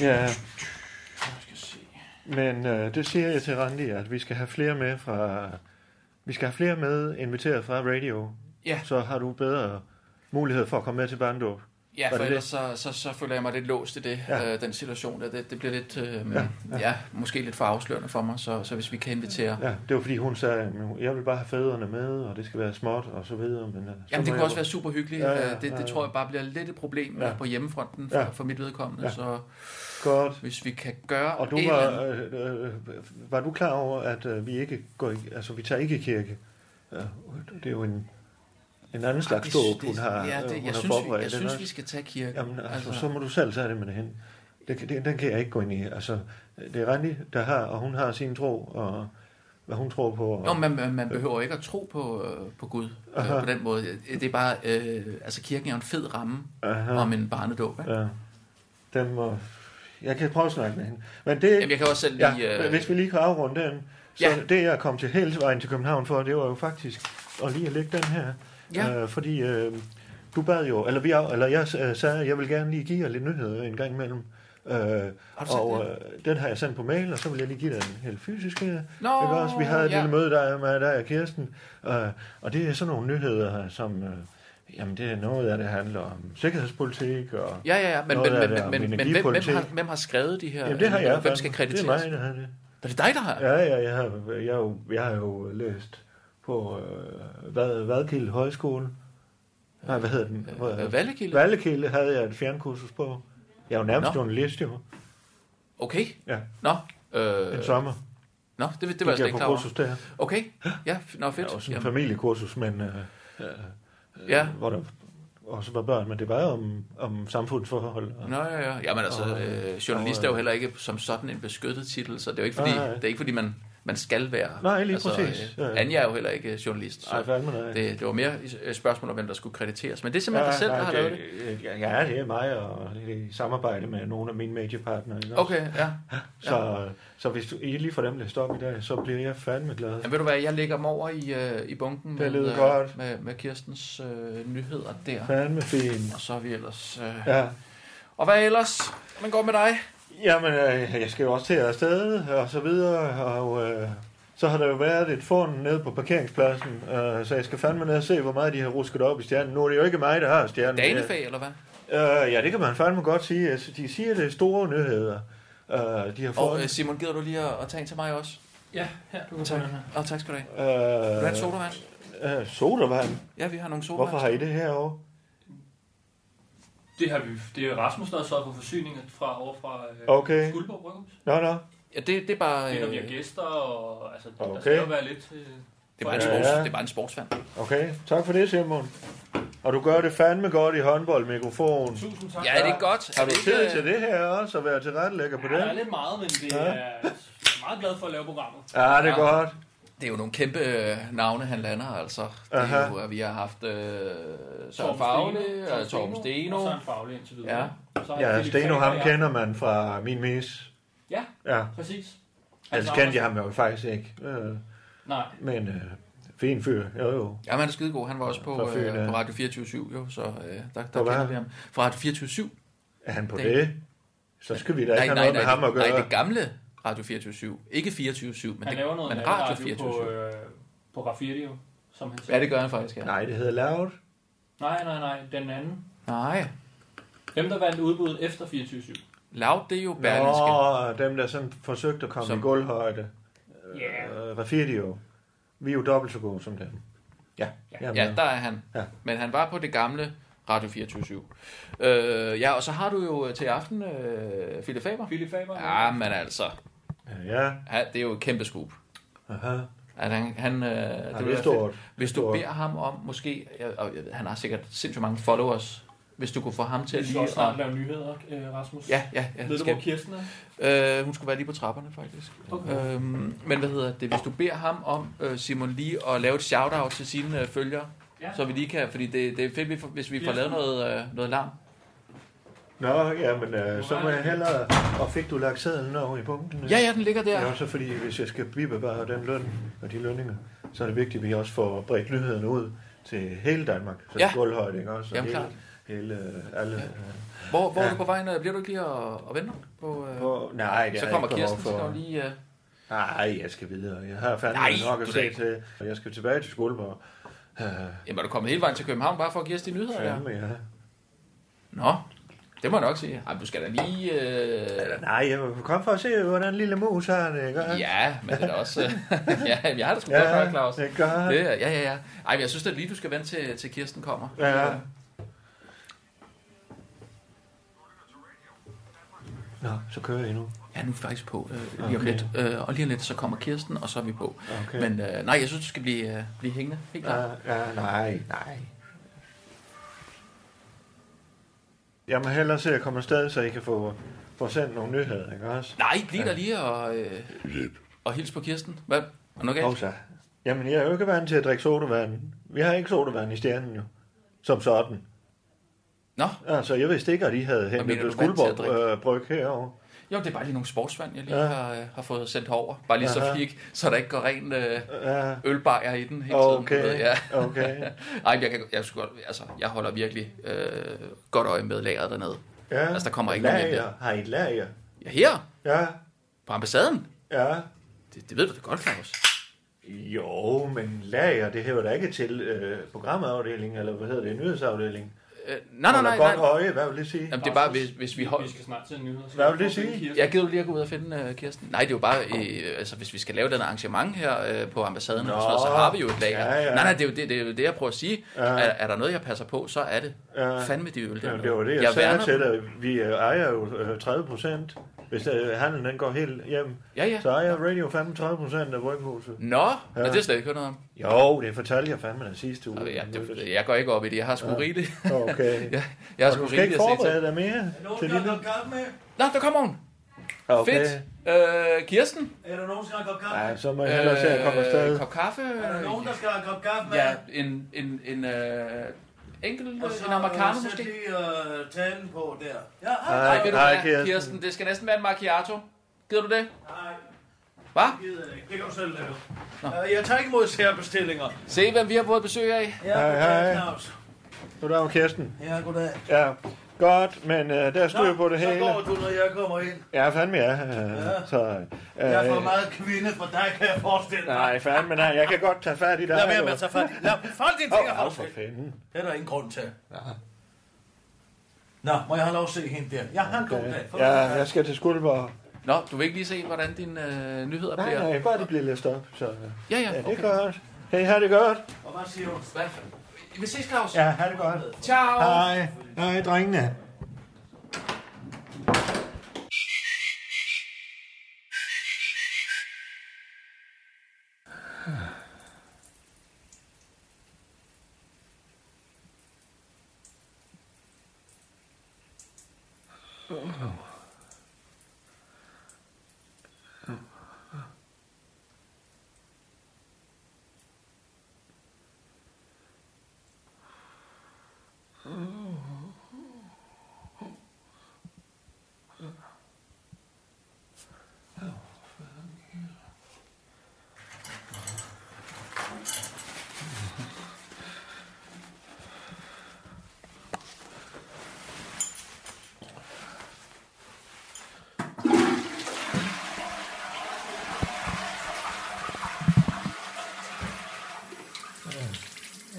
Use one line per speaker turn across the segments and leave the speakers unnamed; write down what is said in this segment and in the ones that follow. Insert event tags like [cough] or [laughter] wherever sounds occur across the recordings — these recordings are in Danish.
Ja,
Jeg skal se.
men øh, det siger jeg til Randi, at vi skal have flere med fra... Vi skal have flere med inviteret fra radio.
Ja.
Så har du bedre mulighed for at komme med til barndåb.
Ja,
Var
for
det
ellers så, så, så føler jeg mig lidt låst i det,
Ja.
ja. øh, den situation der. Det, det bliver lidt, øh, ja, ja. ja, måske lidt for afslørende for mig, så, så hvis vi kan invitere... Ja.
Ja, det var fordi hun sagde, at jeg vil bare have fædrene med, og det skal være småt og så videre. Men, øh, så
Jamen,
må jeg
det kunne også
jo-
være super hyggeligt.
Ja,
Ja,
ja,
ja, det, det
ja, ja.
tror jeg bare bliver lidt et problem
Ja.
ja. på hjemmefronten for,
Ja.
ja. for mit vedkommende.
Ja.
Ja. Så
Godt.
hvis vi kan gøre
Og du
et eller
var,
andet-
øh, øh, var du klar over, at øh, vi ikke går i, altså vi tager ikke i kirke? Ja, det er jo en, en anden slags
Det-
dåb,
det-
hun har,
ja,
øh,
det,
hun
jeg
har
synes, vi,
forberedt.
jeg
Den
synes,
er-
vi skal tage kirken.
Jamen, altså, altså, så må du selv tage det med hen. Det, kan- det, den kan jeg ikke gå ind i. Altså, det er Randi, der har, og hun har sin tro, og hvad hun tror på. Og,
Nå, man, man- man behøver ikke at tro på, øh, på Gud øh,
Aha.
på den måde. Det er bare, øh, altså kirken er jo en fed ramme
Aha.
om en barnedåb. Ja.
ja, den må, jeg kan prøve at snakke med hende. Men det,
Jamen, jeg kan også selv
ja,
lige... øh,
hvis vi lige kan afrunde den, så
Ja.
det, jeg kom til hele vejen til København for, det var jo faktisk at lige at lægge den her.
Ja.
Øh, fordi øh, du bad jo, eller, vi, af- eller jeg øh, sagde, at jeg vil gerne lige give jer lidt nyheder en gang imellem. Øh,
Har du
og
sendt
øh, den har jeg sendt på mail, og så vil jeg lige give dig den helt fysisk her.
Nå,
Ikke også? Vi havde et
ja.
lille møde der med dig og Kirsten, øh, og det er sådan nogle nyheder, som... Øh, jamen, det er noget af det handler om sikkerhedspolitik, og...
Ja, ja, ja, men,
Noget
men,
af
men,
det er om
men, men, men hvem, hvem,
energipolitik.
har, hvem har skrevet de her? øh,
Jamen, det har jeg.
Hvem
fandme.
skal
Det er
krediteres?
mig, der har det.
Er det dig, der har?
Ja, ja, jeg har, jeg, har jo, jeg har jo læst på øh, Vad, Vadkilde Højskole. Nej, hvad hedder den? Hvor-
Øh, Vallekilde?
Vallekilde havde jeg et fjernkursus på. Jeg er jo nærmest
Nå.
journalist, jo.
Okay.
Ja,
Nå,
en
øh,
sommer.
nå det, det
Det
var
var
jeg slet
jeg
ikke
på
klar over.
kursus der.
Okay, ja, f- nå
Det
fedt.
var sådan en
Jamen,
familiekursus, men øh,
ja,
hvor der også var børn, men det var jo om, om samfundsforhold. Og,
Nå, ja, ja. Jamen altså,
Og,
øh, journalist er jo heller ikke som sådan en beskyttet titel, så det er jo ikke fordi,
Nej, nej.
det er ikke fordi man, man skal være.
Nej, lige præcis. Ja, ja.
Øh, Anja er jo heller ikke journalist,
Ej,
så
fandme nej.
det, det var mere et spørgsmål om, hvem der skulle krediteres. Men det er simpelthen dig selv, der har lavet det.
det. Ja, ja, det er mig, og det er i samarbejde med nogle af mine mediepartnere. ikke også?
Okay, ja.
Så, så hvis du I lige får dem læst op i dag, så bliver jeg fandme glad.
Jamen, ved du hvad, jeg lægger dem over i, øh, i bunken
Det lyder
med, øh,
godt.
med, med Kirstens øh, nyheder der.
Fandme fint.
Og så er vi ellers... Øh...
Ja.
Og hvad ellers? Hvordan går det med dig?
Jamen, øh, jeg skal jo også til afsted, og så videre, og øh, så har der jo været et forn nede på parkeringspladsen, øh, så jeg skal fandme ned og se, hvor meget de har rusket op i stjernen. Nu er det jo ikke mig, der har stjernen.
Danefag, eller hvad?
Øh, ja, det kan man fandme godt sige. Altså, de siger, det er store nyheder. Øh, de har
Og
fået...
øh, Simon, gider du lige at, at tage en til mig også?
Ja, her. Du kan
Tak.
få den her.
Åh, oh, tak skal du have.
Øh,
Vil du have et sodavand?
øh, sodavand.
Ja, vi har nogle sodavand.
Hvorfor har I det herovre?
Det, har vi, det er Rasmus, der har sørget for forsyninger fra, over fra øh,
Okay.
Skuldborg Bryghus.
Øh,
Nå, nå.
Ja, det, det er bare...
Det er, når vi
Øh,
har gæster, og altså, okay. der
Okay.
skal jo være lidt... Øh,
det er bare en
Ja,
sports,
ja.
det er bare en sportsvand.
Okay, tak for det, Simon. Og du gør det fandme godt i håndboldmikrofon.
Tusind tak.
Ja, er det ikke øh, godt?
Har du
det
tid til det her også, at være tilrettelægger på
Ja, der er
det?
lidt meget, men det
Ja.
ja. er jeg er meget glad for at lave programmet.
Ja, det er
Ja.
godt.
Det er jo nogle kæmpe øh, navne, han lander, altså. Det
Aha.
er jo, at vi har haft øh, Søren Fagle og Torben Steno.
Og Søren Fagle indtil videre.
Ja.
Og så har
Ja,
Philip
Steno,
Faber,
ham
ja.
kender man fra Min Mis.
Ja,
Ja,
præcis.
altså kendte jeg ham jo faktisk ikke. Øh,
Nej,
Men øh, fin fyr, jo jo.
Ja, men han er skidegod. Han var også på,
Fra Fyn, ja.
øh, på Radio 24-7, jo, så øh, der, der
Hvor var
kender
han?
vi ham. Fra Radio 24-7?
Er han på
Det-
det? Så skal vi da ikke have noget med ham at
nej,
gøre.
det gamle Radio 24-7. Ikke 24-7, men,
han
det,
laver noget
men
natradio
Radio
på,
24-7.
øh, på Raffirio, som han siger.
Ja, det gør han faktisk, ja.
Nej, det hedder Loud.
Nej, nej, nej, den anden.
Nej.
Dem, der vandt udbuddet efter 24
Loud, det er jo Berlingske.
Nå, dem der sådan forsøgte at komme
Som-
i gulvhøjde.
Ja.
Øh, Rafidio. Vi er jo dobbelt så gode som dem. Ja, jamen,
Ja, der er han.
Ja.
Men han var på det gamle Radio 24-7. Øh, ja, og så har du jo øh, til aften øh, Philip Faber.
Philip Faber.
Ja, men altså.
ja.
Han, det er jo et kæmpe scoop.
Aha.
At han, han, øh,
Ja, det,
det vil
det
være
er stort.
Hvis
Stort.
du beder ham om, måske, jeg, og jeg, ved, han har sikkert sindssygt mange followers, hvis du kunne få ham til
Vi
at
skal
lige...
også
At,
snart lave nyheder, øh, Rasmus.
ja, ja, ja.
Ved du,
skal-
hvor Kirsten er?
Øh, hun skulle være lige på trapperne, faktisk.
Okay.
Okay. Øhm, men hvad hedder det? Hvis du beder ham om, øh, Simon, lige at lave et shout-out til sine øh, følgere,
Ja.
ja. så vi lige kan... Fordi det, det er fedt, vi får- hvis vi får lavet noget, øh, noget larm.
Nå, ja, men øh, så må jeg hellere... Og fik du lagt sædlen over i punkten?
Ja, ja, den ligger
Det er
der.
også fordi, hvis jeg skal bibevare den løn og de lønninger, så er det vigtigt, at vi også får bredt nyheden ud til hele Danmark. Så
Ja.
ja. gulvhøjde, ikke også? Og
Jamen,
hele,
klart.
hele, øh, alle, ja.
Hvor, hvor er
Ja.
du på vej? Når, bliver du ikke lige og, og venter? På, øh,
På, nej, det
så
har
kommer
jeg ikke behov
Kirsten, så
for.
skal hun lige... Øh,
Nej, jeg skal videre. Jeg har fandme
Nej,
nok at
du da
se
ikke.
til. Og jeg skal tilbage til Skuldborg. Øh,
jamen, er du kommet hele vejen til København bare for at give os de nyheder? Ja.
fandme, ja.
Nå, det må jeg nok sige. Ej, du skal da lige... Øh,
Nej, jeg vil komme for at se, hvordan lille mus har det, ikke?
ja, men det er da
[laughs]
også... [laughs] ja, jamen, jeg har da sgu godt
ja,
hørt, Claus.
det gør
Det,
det.
er- ja, ja, ja. Ej, men jeg synes da lige, du skal vente til, til Kirsten kommer.
Ja. Nå, så kører jeg nu.
Ja, nu er vi faktisk på øh, lige om lidt. Øh, og lige om lidt, så kommer Kirsten, og så er vi på.
Okay.
Men øh, nej, jeg synes, du skal blive, øh, blive hængende. Helt klart.
Ja, ja, nej, nej. Jeg må hellere se at komme afsted, så I kan få, få sendt nogle nyheder, ikke også?
Nej, bliv der lige og, øh, og hils på Kirsten. Hvad? Er noget
Og
galt?
så. Jamen, jeg er jo ikke vant til at drikke sodavand. Vi har ikke sodavand i stjernen jo. Som sådan.
Nå,
Altså, jeg vidste ikke, at I havde hentet
mener
på
du vant til at
Skuldborg øh, Bryg herovre.
jo, det er bare lige nogle sportsvand, jeg lige
Ja.
har, øh, har fået sendt over. Bare lige så,
Aha.
vi ikke, så der ikke går ren øh,
Ja,
ølbajer i den hele tiden. du ved,
okay,
Ja.
okay.
Ej, men jeg, kan, jeg, skulle, godt- altså, jeg holder virkelig øh, godt øje med lageret dernede.
Ja. [laughs]
Altså, der kommer ikke nogen ind
lager.
der.
Har I et lager?
Ja, her
Ja,
på ambassaden.
ja.
Det, det ved du da godt, Claus.
Jo, men lager, det hører da ikke til øh, programafdelingen, eller hvad hedder det, nyhedsafdelingen.
Øh, nej, nej, nej.
Godt
nej.
øje, hvad vil det sige?
Jamen, det er bare, hvis, hvis vi
Hold.
holder...
Vi skal snart til en nyheder.
Hvad vil det sige?
Jeg gider du lige at gå ud og finde uh, Kirsten. Nej, det er jo bare, uh, altså hvis vi skal lave den arrangement her uh, på ambassaden,
Nå.
og sådan noget, så har vi jo et lager.
Ja, ja.
Nej, nej, det er jo det, det, er jo det jeg prøver at sige.
Ja.
Er, er der noget, jeg passer på, så er det.
Ja.
Fandme de øl
Ja,
der.
det var det, jeg, jeg sagde til dig. Vi øh, ejer jo øh, 30 procent. Hvis øh, handlen den går helt hjem,
Ja, ja.
så ejer Radio fandme 30 procent af bryghuset.
Nå, ja.
Ja.
det er slet ikke hørt noget om.
Jo, det fortalte jeg fandme den sidste uge.
Og Ja, det, jeg går ikke op i det. Jeg har sgu ja. rigeligt.
Okay.
Jeg, jeg har
Og
sgu
du skal
rigeligt
ikke
at se til.
forberede dig mere
Er nogen,
til
der har
lige nu?
godt kaffe med?
Nå, der kommer hun.
Okay.
Fedt. Uh, Kirsten.
Er der nogen, der skal have godt kaffe?
Nej, så må jeg hellere se at komme
øh,
afsted.
Kop kaffe.
Er der nogen, der skal have godt kaffe med?
Ja, en, en, en øh, enkelt,
Og så
en amerikaner
øh, sæt
måske.
lige øh, talen på der. Ja, hej.
Nej,
Nej,
ved du
nej,
hvad, Kirsten. Kirsten, det skal næsten være en macchiato. Gider du det?
Nej,
Hva?
det gider jeg ikke. Det kan du selv lave.
Nå.
Øh, Jeg tager ikke imod særbestillinger.
Se, hvem vi har fået besøg af.
Ja,
Hej,
goddag,
hej.
Claus.
Goddag, Kirsten.
Ja, goddag.
Ja, godt, men øh, der styr på det
så
hele.
går du, når jeg kommer ind.
Ja, fandme ja. Øh,
Ja.
Så, øh,
Jeg får meget kvinde for dig, kan jeg forestille mig.
Nej, fandme nej. Jeg kan godt tage fat i dig.
Lad være med at tage fat. Lad folk dine ting
Åh,
oh,
oh, for fanden.
Det er der ingen grund til. Nå, må jeg have lov at se hende der? Ja, han god dag.
Ja, jeg skal til Skuldborg.
Nå, du vil ikke lige se, hvordan dine øh, nyheder
Nej,
bliver?
nej, bare det bliver læst op. Så. øh,
Ja, ja,
Ja, det
okay.
er godt. Kan I have det godt?
Og hvad siger du?
Hvad fanden? Vi ses, Claus.
Ja, have det godt.
Ciao.
Hej. Hej, drengene.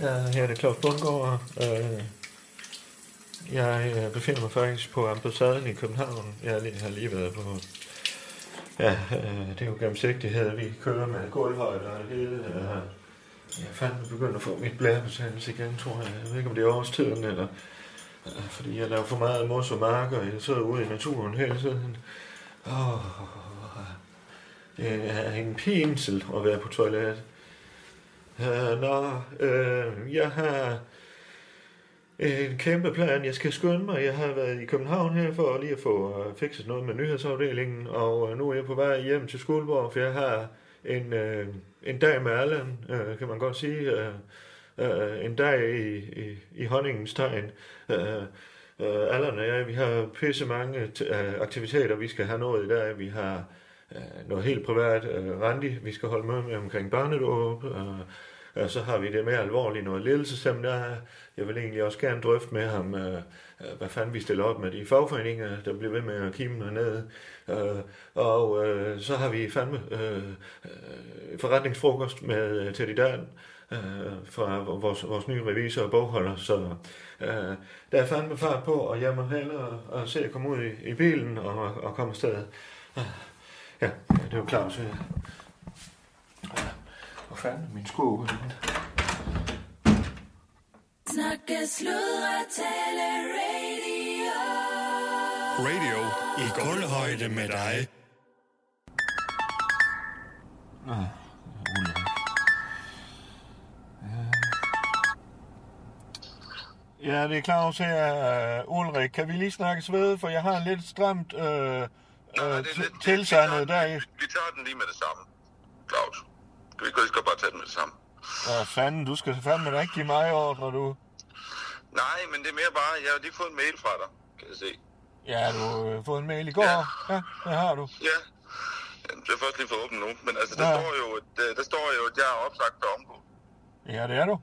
Ja, her er det Claus Bundgaard. Øh, Jeg øh, befinder mig faktisk på ambassaden i København. Jeg har lige- har lige været på... Ja, øh, det er jo gennemsigtighed. Vi kører med gulvhøjde og det hele. øh. Jeg er fandme begyndt at få mit blærebetændelse igen, tror jeg. Jeg ved ikke, om det er årstiden, eller... øh, Fordi jeg laver for meget mos og mark, og jeg sidder ude i naturen hele tiden. Åh, øh, det er en pinsel at være på toilettet. Øh, Nå, øh, jeg har... en kæmpe plan. Jeg skal skynde mig. Jeg har været i København her for lige at få øh, fikset noget med nyhedsafdelingen, og øh, nu er jeg på vej hjem til Skuldborg, for jeg har en, øh, en dag med Allan, øh, kan man godt sige. Øh, øh, en dag i, i, i honningens tegn. Øh, Øh, Allan og jeg, vi har pisse mange t- øh, aktiviteter, vi skal have noget i dag. Vi har øh, noget helt privat. Øh, Randi, vi skal holde møde med omkring barnedåb. Øh, og så har vi det mere alvorlige noget ledelsesseminar. Jeg vil egentlig også gerne drøfte med ham, øh, øh, hvad fanden vi stiller op med de fagforeninger, der bliver ved med at kime ned. Øh, og øh, så har vi fandme øh, øh, forretningsfrokost med øh, Teddy Dan øh, fra vores, vores nye revisor og bogholder. Så øh, der er fandme fart på, og jeg må hellere og se at komme ud i, i bilen og, og komme afsted. Øh, Ja, det er jo Claus. øh. Ja. Hvor fanden er min sko? henne?
Snakke, sludre, tale, radio.
Radio i guldhøjde med dig.
Ja, det er Claus her. Uh, Ulrik, kan vi lige snakkes ved? For jeg har en lidt stramt øh, øh, t- tilsandet der i.
Vi tager den lige med det samme, Claus. Kan vi ikke lige så godt bare tage den med det samme?
Åh, fanden, du skal fandme da ikke give mig ordre, du.
Nej, men det er mere bare, jeg har lige fået en mail fra dig, kan jeg se.
Ja, du har øh, fået en mail i går. Ja, det har du.
Ja, Jamen, det er først lige fået åbent nu, men altså, der,
Ja.
ja. står jo, at, øh, der står jo, at jeg er opsagt for omgå.
Ja, det er du.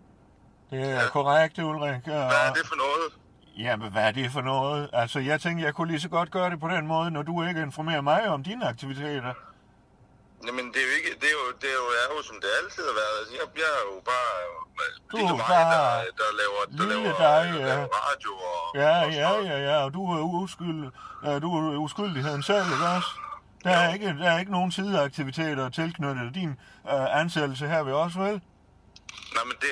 Det er korrekt, Ulrik.
Hvad er
Uh,
det for noget?
jamen, hvad er det for noget? Altså, jeg tænkte, jeg kunne lige så godt gøre det på den måde, når du ikke informerer mig om dine aktiviteter.
Jamen, det er jo ikke, det er jo, det er jo, er jo som det altid har været. Altså, jeg, jeg er jo bare øh,
Du
lille
er
mig,
bare
der, der laver, der
lille
laver,
dig,
øh,
ja.
laver radio og,
Ja,
og
ja, ja, ja, og du er uskyld, øh, du er uskyldigheden selv, ikke også? Der er ikke, der er ikke nogen sideaktiviteter tilknyttet din øh, ansættelse her ved os, vel?
Nej, men det,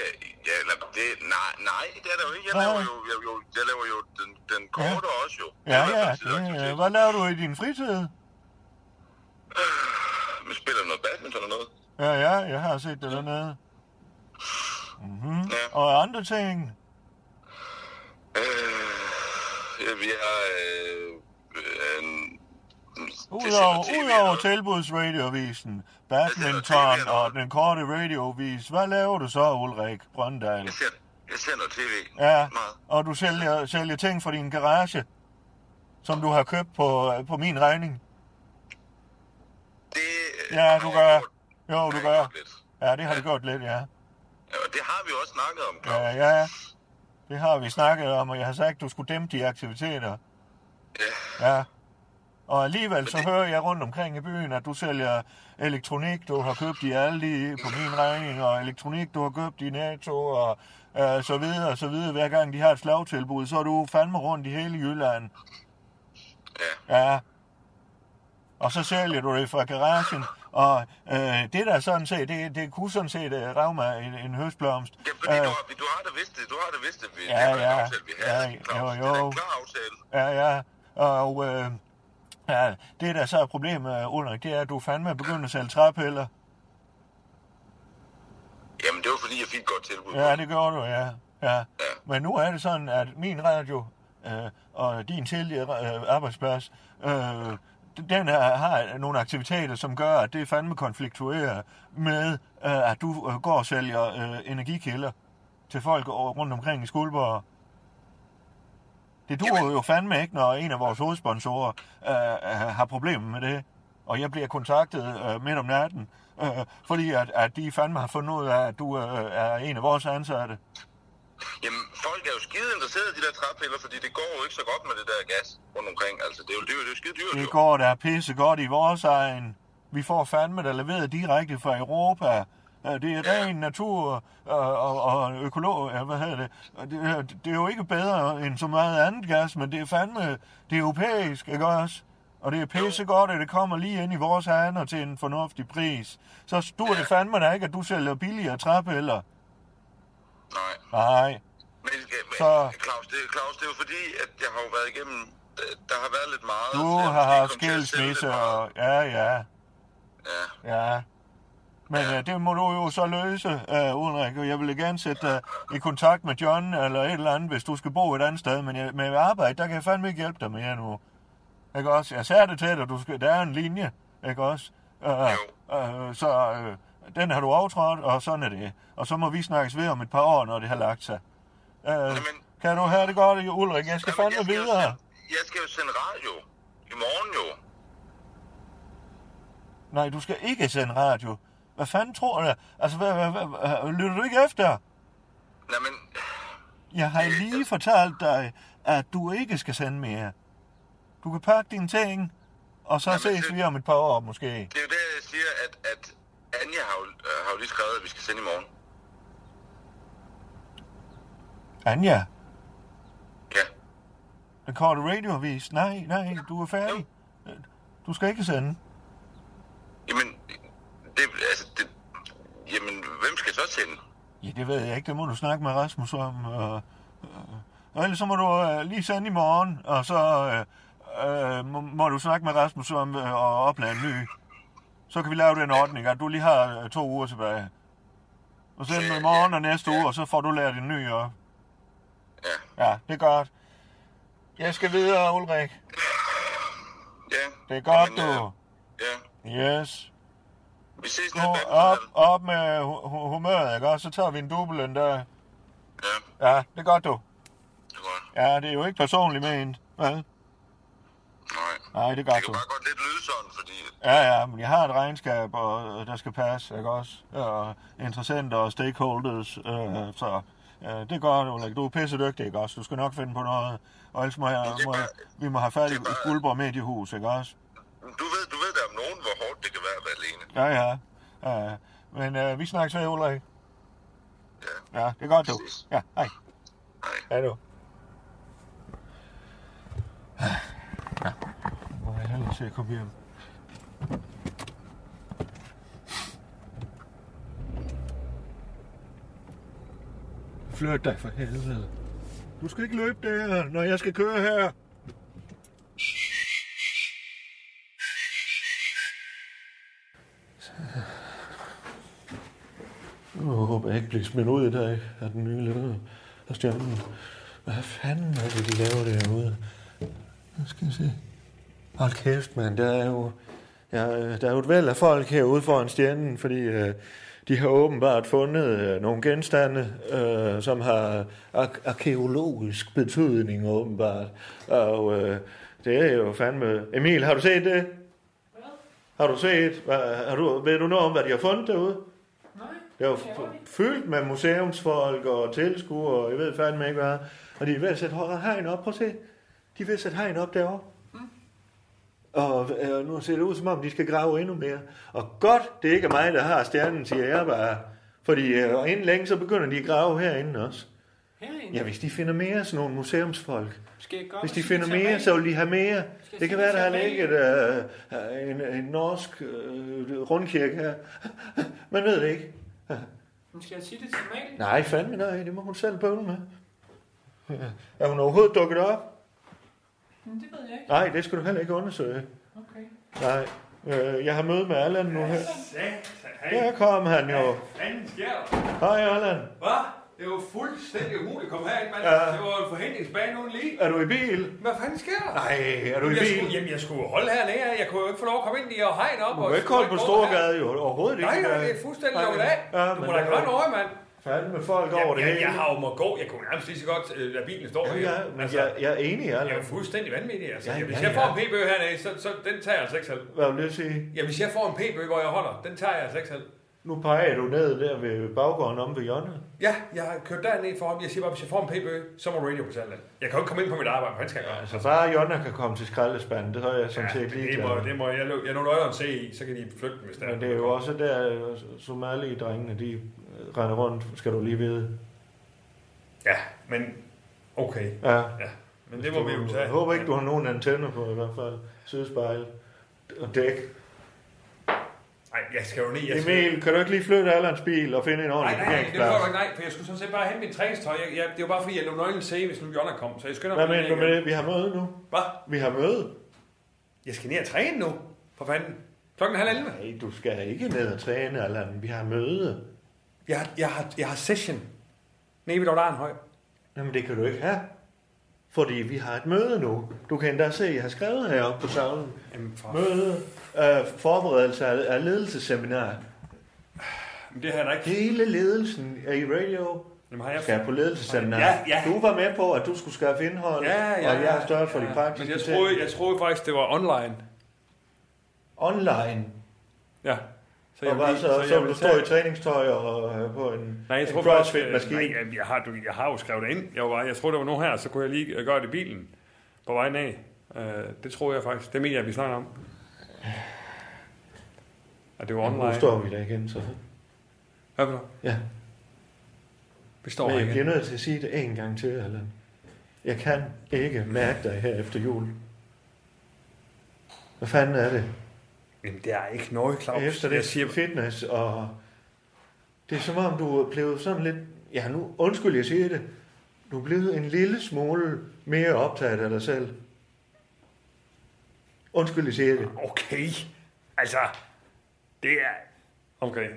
ja, eller, det, nej, nej, det er der jo ikke. Jeg
Nej.
laver jo, jeg, jo, jeg laver jo den, den korte ja. også jo. Det
Ja,
er i hvert
ja,
fald
det,
sideaktivitet.
øh, hvad laver du i din fritid?
Men spiller du noget badminton eller noget?
Ja, ja, jeg har set det dernede. Mm-hmm.
Ja.
Og andre ting.
Øh, ja, vi har... Øh, øh, en- det
Udover,
sender TV
udover
noget.
tilbudsradioavisen, badminton og den korte radiovis, hvad laver du så, Ulrik Brøndal?
Jeg ser, jeg ser noget tv.
Ja,
Meget.
og du sælger, sælger ting fra din garage, som du har købt på, på min regning.
Det, øh,
Ja,
har
du
jeg
gør.
gjort-
Jo,
har
du
jeg
gør.
gjort lidt.
Ja, det har det gjort lidt, ja.
Ja, og det har vi jo også snakket om, Claus.
Ja, ja. Det har vi snakket om, og jeg har sagt, at du skulle dæmpe de aktiviteter. Ja. Og alligevel så hører jeg rundt omkring i byen, at du sælger elektronik, du har købt i Aldi på min regning, og elektronik, du har købt i Netto, og øh, så videre, og så videre. Hver gang de har et slagtilbud, så er du fandme rundt i hele Jylland.
Ja.
Ja. Og så sælger du det fra garagen, og øh, det der sådan set, det, det kunne sådan set øh, rave mig en, en høstblomst.
Ja, fordi
Øh,
du, har, du har da vidst det, du har da vidst det, vi,
Ja,
det var en
ja.
aftale, vi
Ja,
havde, Claus.
jo,
Det er da
jo.
en klar aftale.
Ja, ja. Og øh, ja, det, der så er problemet, øh, Ulrik, det er, at du fandme er begyndt at sælge træpiller.
Jamen, det var fordi, jeg fik et godt tilbud. på
Ja, det gjorde du, ja. ja. Men nu er det sådan, at min radio øh, og din tidligere øh, arbejdsplads, øh, den er, har nogle aktiviteter, som gør, at det fandme konfliktuerer med, øh, at du øh, går og sælger øh, energikilder til folk over- rundt omkring i Skuldborg. Det duer jo fandme ikke, når en af vores hovedsponsorer øh, øh, har problemer med det. Og jeg bliver kontaktet øh, midt om natten, øh, fordi at, at de fandme har fundet ud af, at du øh, er en af vores ansatte.
Jamen, folk er jo skide interesserede i de der træpiller, fordi det går jo ikke så godt med det der gas rundt omkring. Altså, det er jo, det er jo, det er jo skide dyrt,
Det
jo.
går da pisse godt i vores egen. Vi får fandme der leveret direkte fra Europa. Øh, Det er ren natur øh, og, og økolog, ja, hvad hedder det? Og det? øh, Det er jo ikke bedre end så meget andet gas, men det er fandme, det er europæisk, ikke også? Og det er pisse godt, at det kommer lige ind i vores hander til en fornuftig pris. Så stort det fandme da ikke, at du sælger billigere træpiller.
Nej.
Nej,
Men, øh, men
Så-
Claus, det, Claus, det er jo fordi, at jeg har jo været igennem... øh, Der har været lidt meget... så
du
jeg
har
måske
haft
kom til at sælge lidt
skilsmisse
meget.
og... Ja, ja,
Ja,
ja. Men øh, det må du jo så løse, øh, Ulrik, og jeg vil gerne sætte dig i kontakt med John eller et eller andet, hvis du skal bo et andet sted. Men jeg, med arbejde, der kan jeg fandme ikke hjælpe dig mere nu. Ikke også? Jeg sagde det til dig, du skal, der er en linje, ikke også? Øh, øh, så øh, den har du aftrådt, og sådan er det. Og så må vi snakkes ved om et par år, når det har lagt sig. Øh, kan du have det godt, Ulrik? Jeg skal
Jamen,
fandme
jo
videre.
sende- jeg skal jo sende radio i morgen jo.
Nej, du skal ikke sende radio. Hvad fanden tror du? Altså, hvad, hvad, hvad, hvad, lytter du ikke efter?
Nej, men
Jeg har lige fortalt dig, at du ikke skal sende mere. Du kan pakke dine ting, og så
Jamen,
ses
det-
vi om et par år måske.
det er jo der, jeg siger, at, at Anja har jo, øh, har jo lige skrevet, at vi skal sende i morgen.
Anja,
Ja.
den korte radioavis. Nej, nej, du er færdig. Du skal ikke sende.
Jamen, det, altså, det, jamen, hvem skal så sende?
Ja, det ved jeg ikke. Det må du snakke med Rasmus om. Og, og ellers så må du øh, lige sende i morgen, og så øh, øh, må, må du snakke med Rasmus om øh, og oplade en ny. Så kan vi lave den ordning, at du lige har øh, to uger tilbage. Og send den i morgen og næste uge, og så får du lært en ny op.
Ja.
Ja, det er godt. Jeg skal videre, Ulrik.
Ja.
Det er godt,
Jamen, øh,
du.
Ja.
Yes.
Vi ses nede
Nu
bag.
op, op med hu- hu- humøret, ikke? Og så tager vi en dubbel en der.
Ja,
Ja, det er godt, du.
det er godt.
Ja, det er jo ikke personligt ment, vel?
Nej.
Nej, det
Det
gør
kan
du.
bare godt lidt lyde sådan, fordi
Ja, ja, men jeg har et regnskab, og øh, der skal passe, ikke også? Og interessenter og stakeholders, øh, så øh, det er godt, Ulrik. Du er pisse dygtig, ikke også? Du skal nok finde på noget, og ellers må, jeg,
det er
må jeg,
bare-
vi må have fat i
det er bare-
Guldborg Mediehus, ikke også?
du ved, du ved da om nogen, hvor hårdt det kan være at være alene.
Ja, ja. ja. Men øh, vi snakkes ved, Ulrik.
Ja.
Ja, det er godt, du.
Præcis.
Ja, hej.
Nej.
Hej du. Ja. Hvor er jeg hellere til at komme hjem? Flyt dig for helvede. Du skal ikke løbe der, når jeg skal køre her. Nu håber jeg ikke bliver smidt ud i dag af den nye leder af stjernen. Hvad fanden er det, de laver derude? Nu skal jeg se. Hold kæft, mand. Der er jo, ja, øh, der er jo et væld af folk herude foran stjernen, fordi øh, de har åbenbart fundet øh, nogle genstande, øh, som har ar- arkeologisk betydning åbenbart. Og øh, det er jo fandme... Emil, har du set det? Har du set? Hvad, har du, ved du noget om, hvad de har fundet derude? Det var f- fyldt med museumsfolk og tilskuere, og jeg ved fandme ikke hvad. Og de er ved at sætte hår- hegn op, prøv at se. De er ved at sætte hegn op derovre.
Mm.
Og øh, nu ser det ud som om, de skal grave endnu mere. Og godt, det ikke er mig, der har stjernen, siger jeg bare. Fordi øh, og inden længe, så begynder de at grave herinde også.
Herinde?
Ja, hvis de finder mere sådan nogle museumsfolk.
Skal jeg gøre,
Hvis
hvad
de
siger
finder
til
mere,
mig?
så vil de have mere.
jeg
Det kan
sige,
være,
vi
der har
tager
ligget øh, en, en norsk øh, rundkirke her. [laughs] Man ved det ikke.
Men Skal jeg sige det til Amalie?
Nej, fandme nej. Det må hun selv bøvle med. Er hun overhovedet dukket op?
Men det ved jeg ikke.
Nej, det skal du heller ikke undersøge.
Okay.
Nej. Øh, jeg har møde med Allan nu her.
Satan, hey.
Der kom han jo.
Fanden sker der?
Hej Allan.
Hvad? Det var fuldstændig umuligt at komme herind, mand.
Ja.
Det var en forhindringsbane uden lige.
Er du i bil?
Hvad fanden sker der?
Nej, er du i
jeg
bil?
skulle, jamen, jeg skulle holde hernede. Jeg kunne jo ikke få lov at komme ind i og hegn op.
Du kan ikke holde på Storgade jo. Overhovedet ikke.
Nej, nej, det er fuldstændig lukket af.
Ja,
du
men
må da
der er
gøre
jo
noget, mand.
Fandme folk over det
jeg, jeg,
hele.
jeg har jo må gå. Jeg kunne nærmest lige så godt øh, lade bilen stå her.
Ja, men
Altså-
jeg, jeg er enig,
jeg er
Allan.
jo fuldstændig vanvittig. Altså.
Ja,
Ja, hvis
ja,
jeg får
ja.
en p hernede, så, så den tager jeg altså ikke selv.
Hvad vil jeg sige?
Ja, hvis jeg får en p hvor jeg holder, den tager jeg altså ikke selv.
Nu peger du ned der ved baggården om ved hjørnet.
Ja, jeg har kørt derned for ham. Jeg siger bare, hvis jeg får en p så må radio betale den. Jeg kan jo ikke komme ind på mit arbejde, men han skal gøre.
Altså, bare Jonna kan komme til skraldespanden, det har jeg sådan
Ja,
set lige
det, må, det må jeg, jeg nogle øjne se i, så kan de flygte, hvis der
Men det er jo også der, øh, somali-drengene, de øh, render rundt, skal du lige vide.
Ja, men okay.
Ja.
Ja, men det må vi jo tage.
Jeg håber ikke, du har nogen antenner på i hvert fald. Sidespejl og dæk.
Nej, jeg skal jo ned. Jeg skal...
Emil, kan du ikke lige flytte Allans bil og finde en
Nej,
ordentlig
nej, nej, det behøver du
parkeringsplads?
ikke, nej, for jeg skulle sådan set bare hente mit træningstøj. Jeg, jeg, det var bare fordi, jeg lå nøglen se, hvis nu Jonna kom, så jeg skynder
Hvad
mig
mener
ned
du med
igen.
det? Vi har møde nu.
Hvad?
Vi har møde.
Jeg skal ned og træne nu, for fanden. Klokken er halv 11.
Nej, du skal ikke ned og træne, Allan. Vi har møde.
Jeg, har- jeg, har, jeg har session nede ved Dr. høj.
Jamen, det kan du ikke have. Fordi vi har et møde nu. Du kan endda se, at jeg har skrevet heroppe på tavlen.
Jamen, for...
Møde. Øh, forberedelse af, af ledelsesseminar.
Men det har jeg da ikke.
Hele ledelsen er i radio.
Jamen, har jeg...
Skal på ledelsesseminar.
Ja, ja.
Du var med på, at du skulle skaffe indhold,
Ja, ja,
og jeg har større for
ja.
de praktiske
Men jeg
ting.
troede, jeg troede faktisk, det var online.
Online.
Ja. Så
Og
vil
bare
lige-
så, så,
jeg
vil
vil
du
tage-
stå i træningstøj og øh, på en,
Nej, jeg
en
tror øh,
crossfit-maskine.
Nej, jeg, jeg, har, du, jeg har jo skrevet det ind. Jeg, var, bare- jeg tror, det var nogen her, så kunne jeg lige øh, gøre det i bilen på vejen af. Øh, det tror jeg faktisk. Det mener jeg, vi snakker om. Og det var online.
nu står vi der igen, så.
Hvad for noget?
Ja.
Vi står
Men
her
jeg bliver
igen.
nødt til at sige det en gang til, Allan. Jeg kan ikke mærke dig her efter jul. Hvad fanden er det?
Jamen, det er ikke noget, Claus.
Efter
Jeg
det
siger,
siger fitness, og det er som om, du er blevet sådan lidt... Ja, nu undskyld, jeg siger det. Du er blevet en lille smule mere optaget af dig selv. Undskyld, jeg siger det.
okay. Altså, det er... Okay.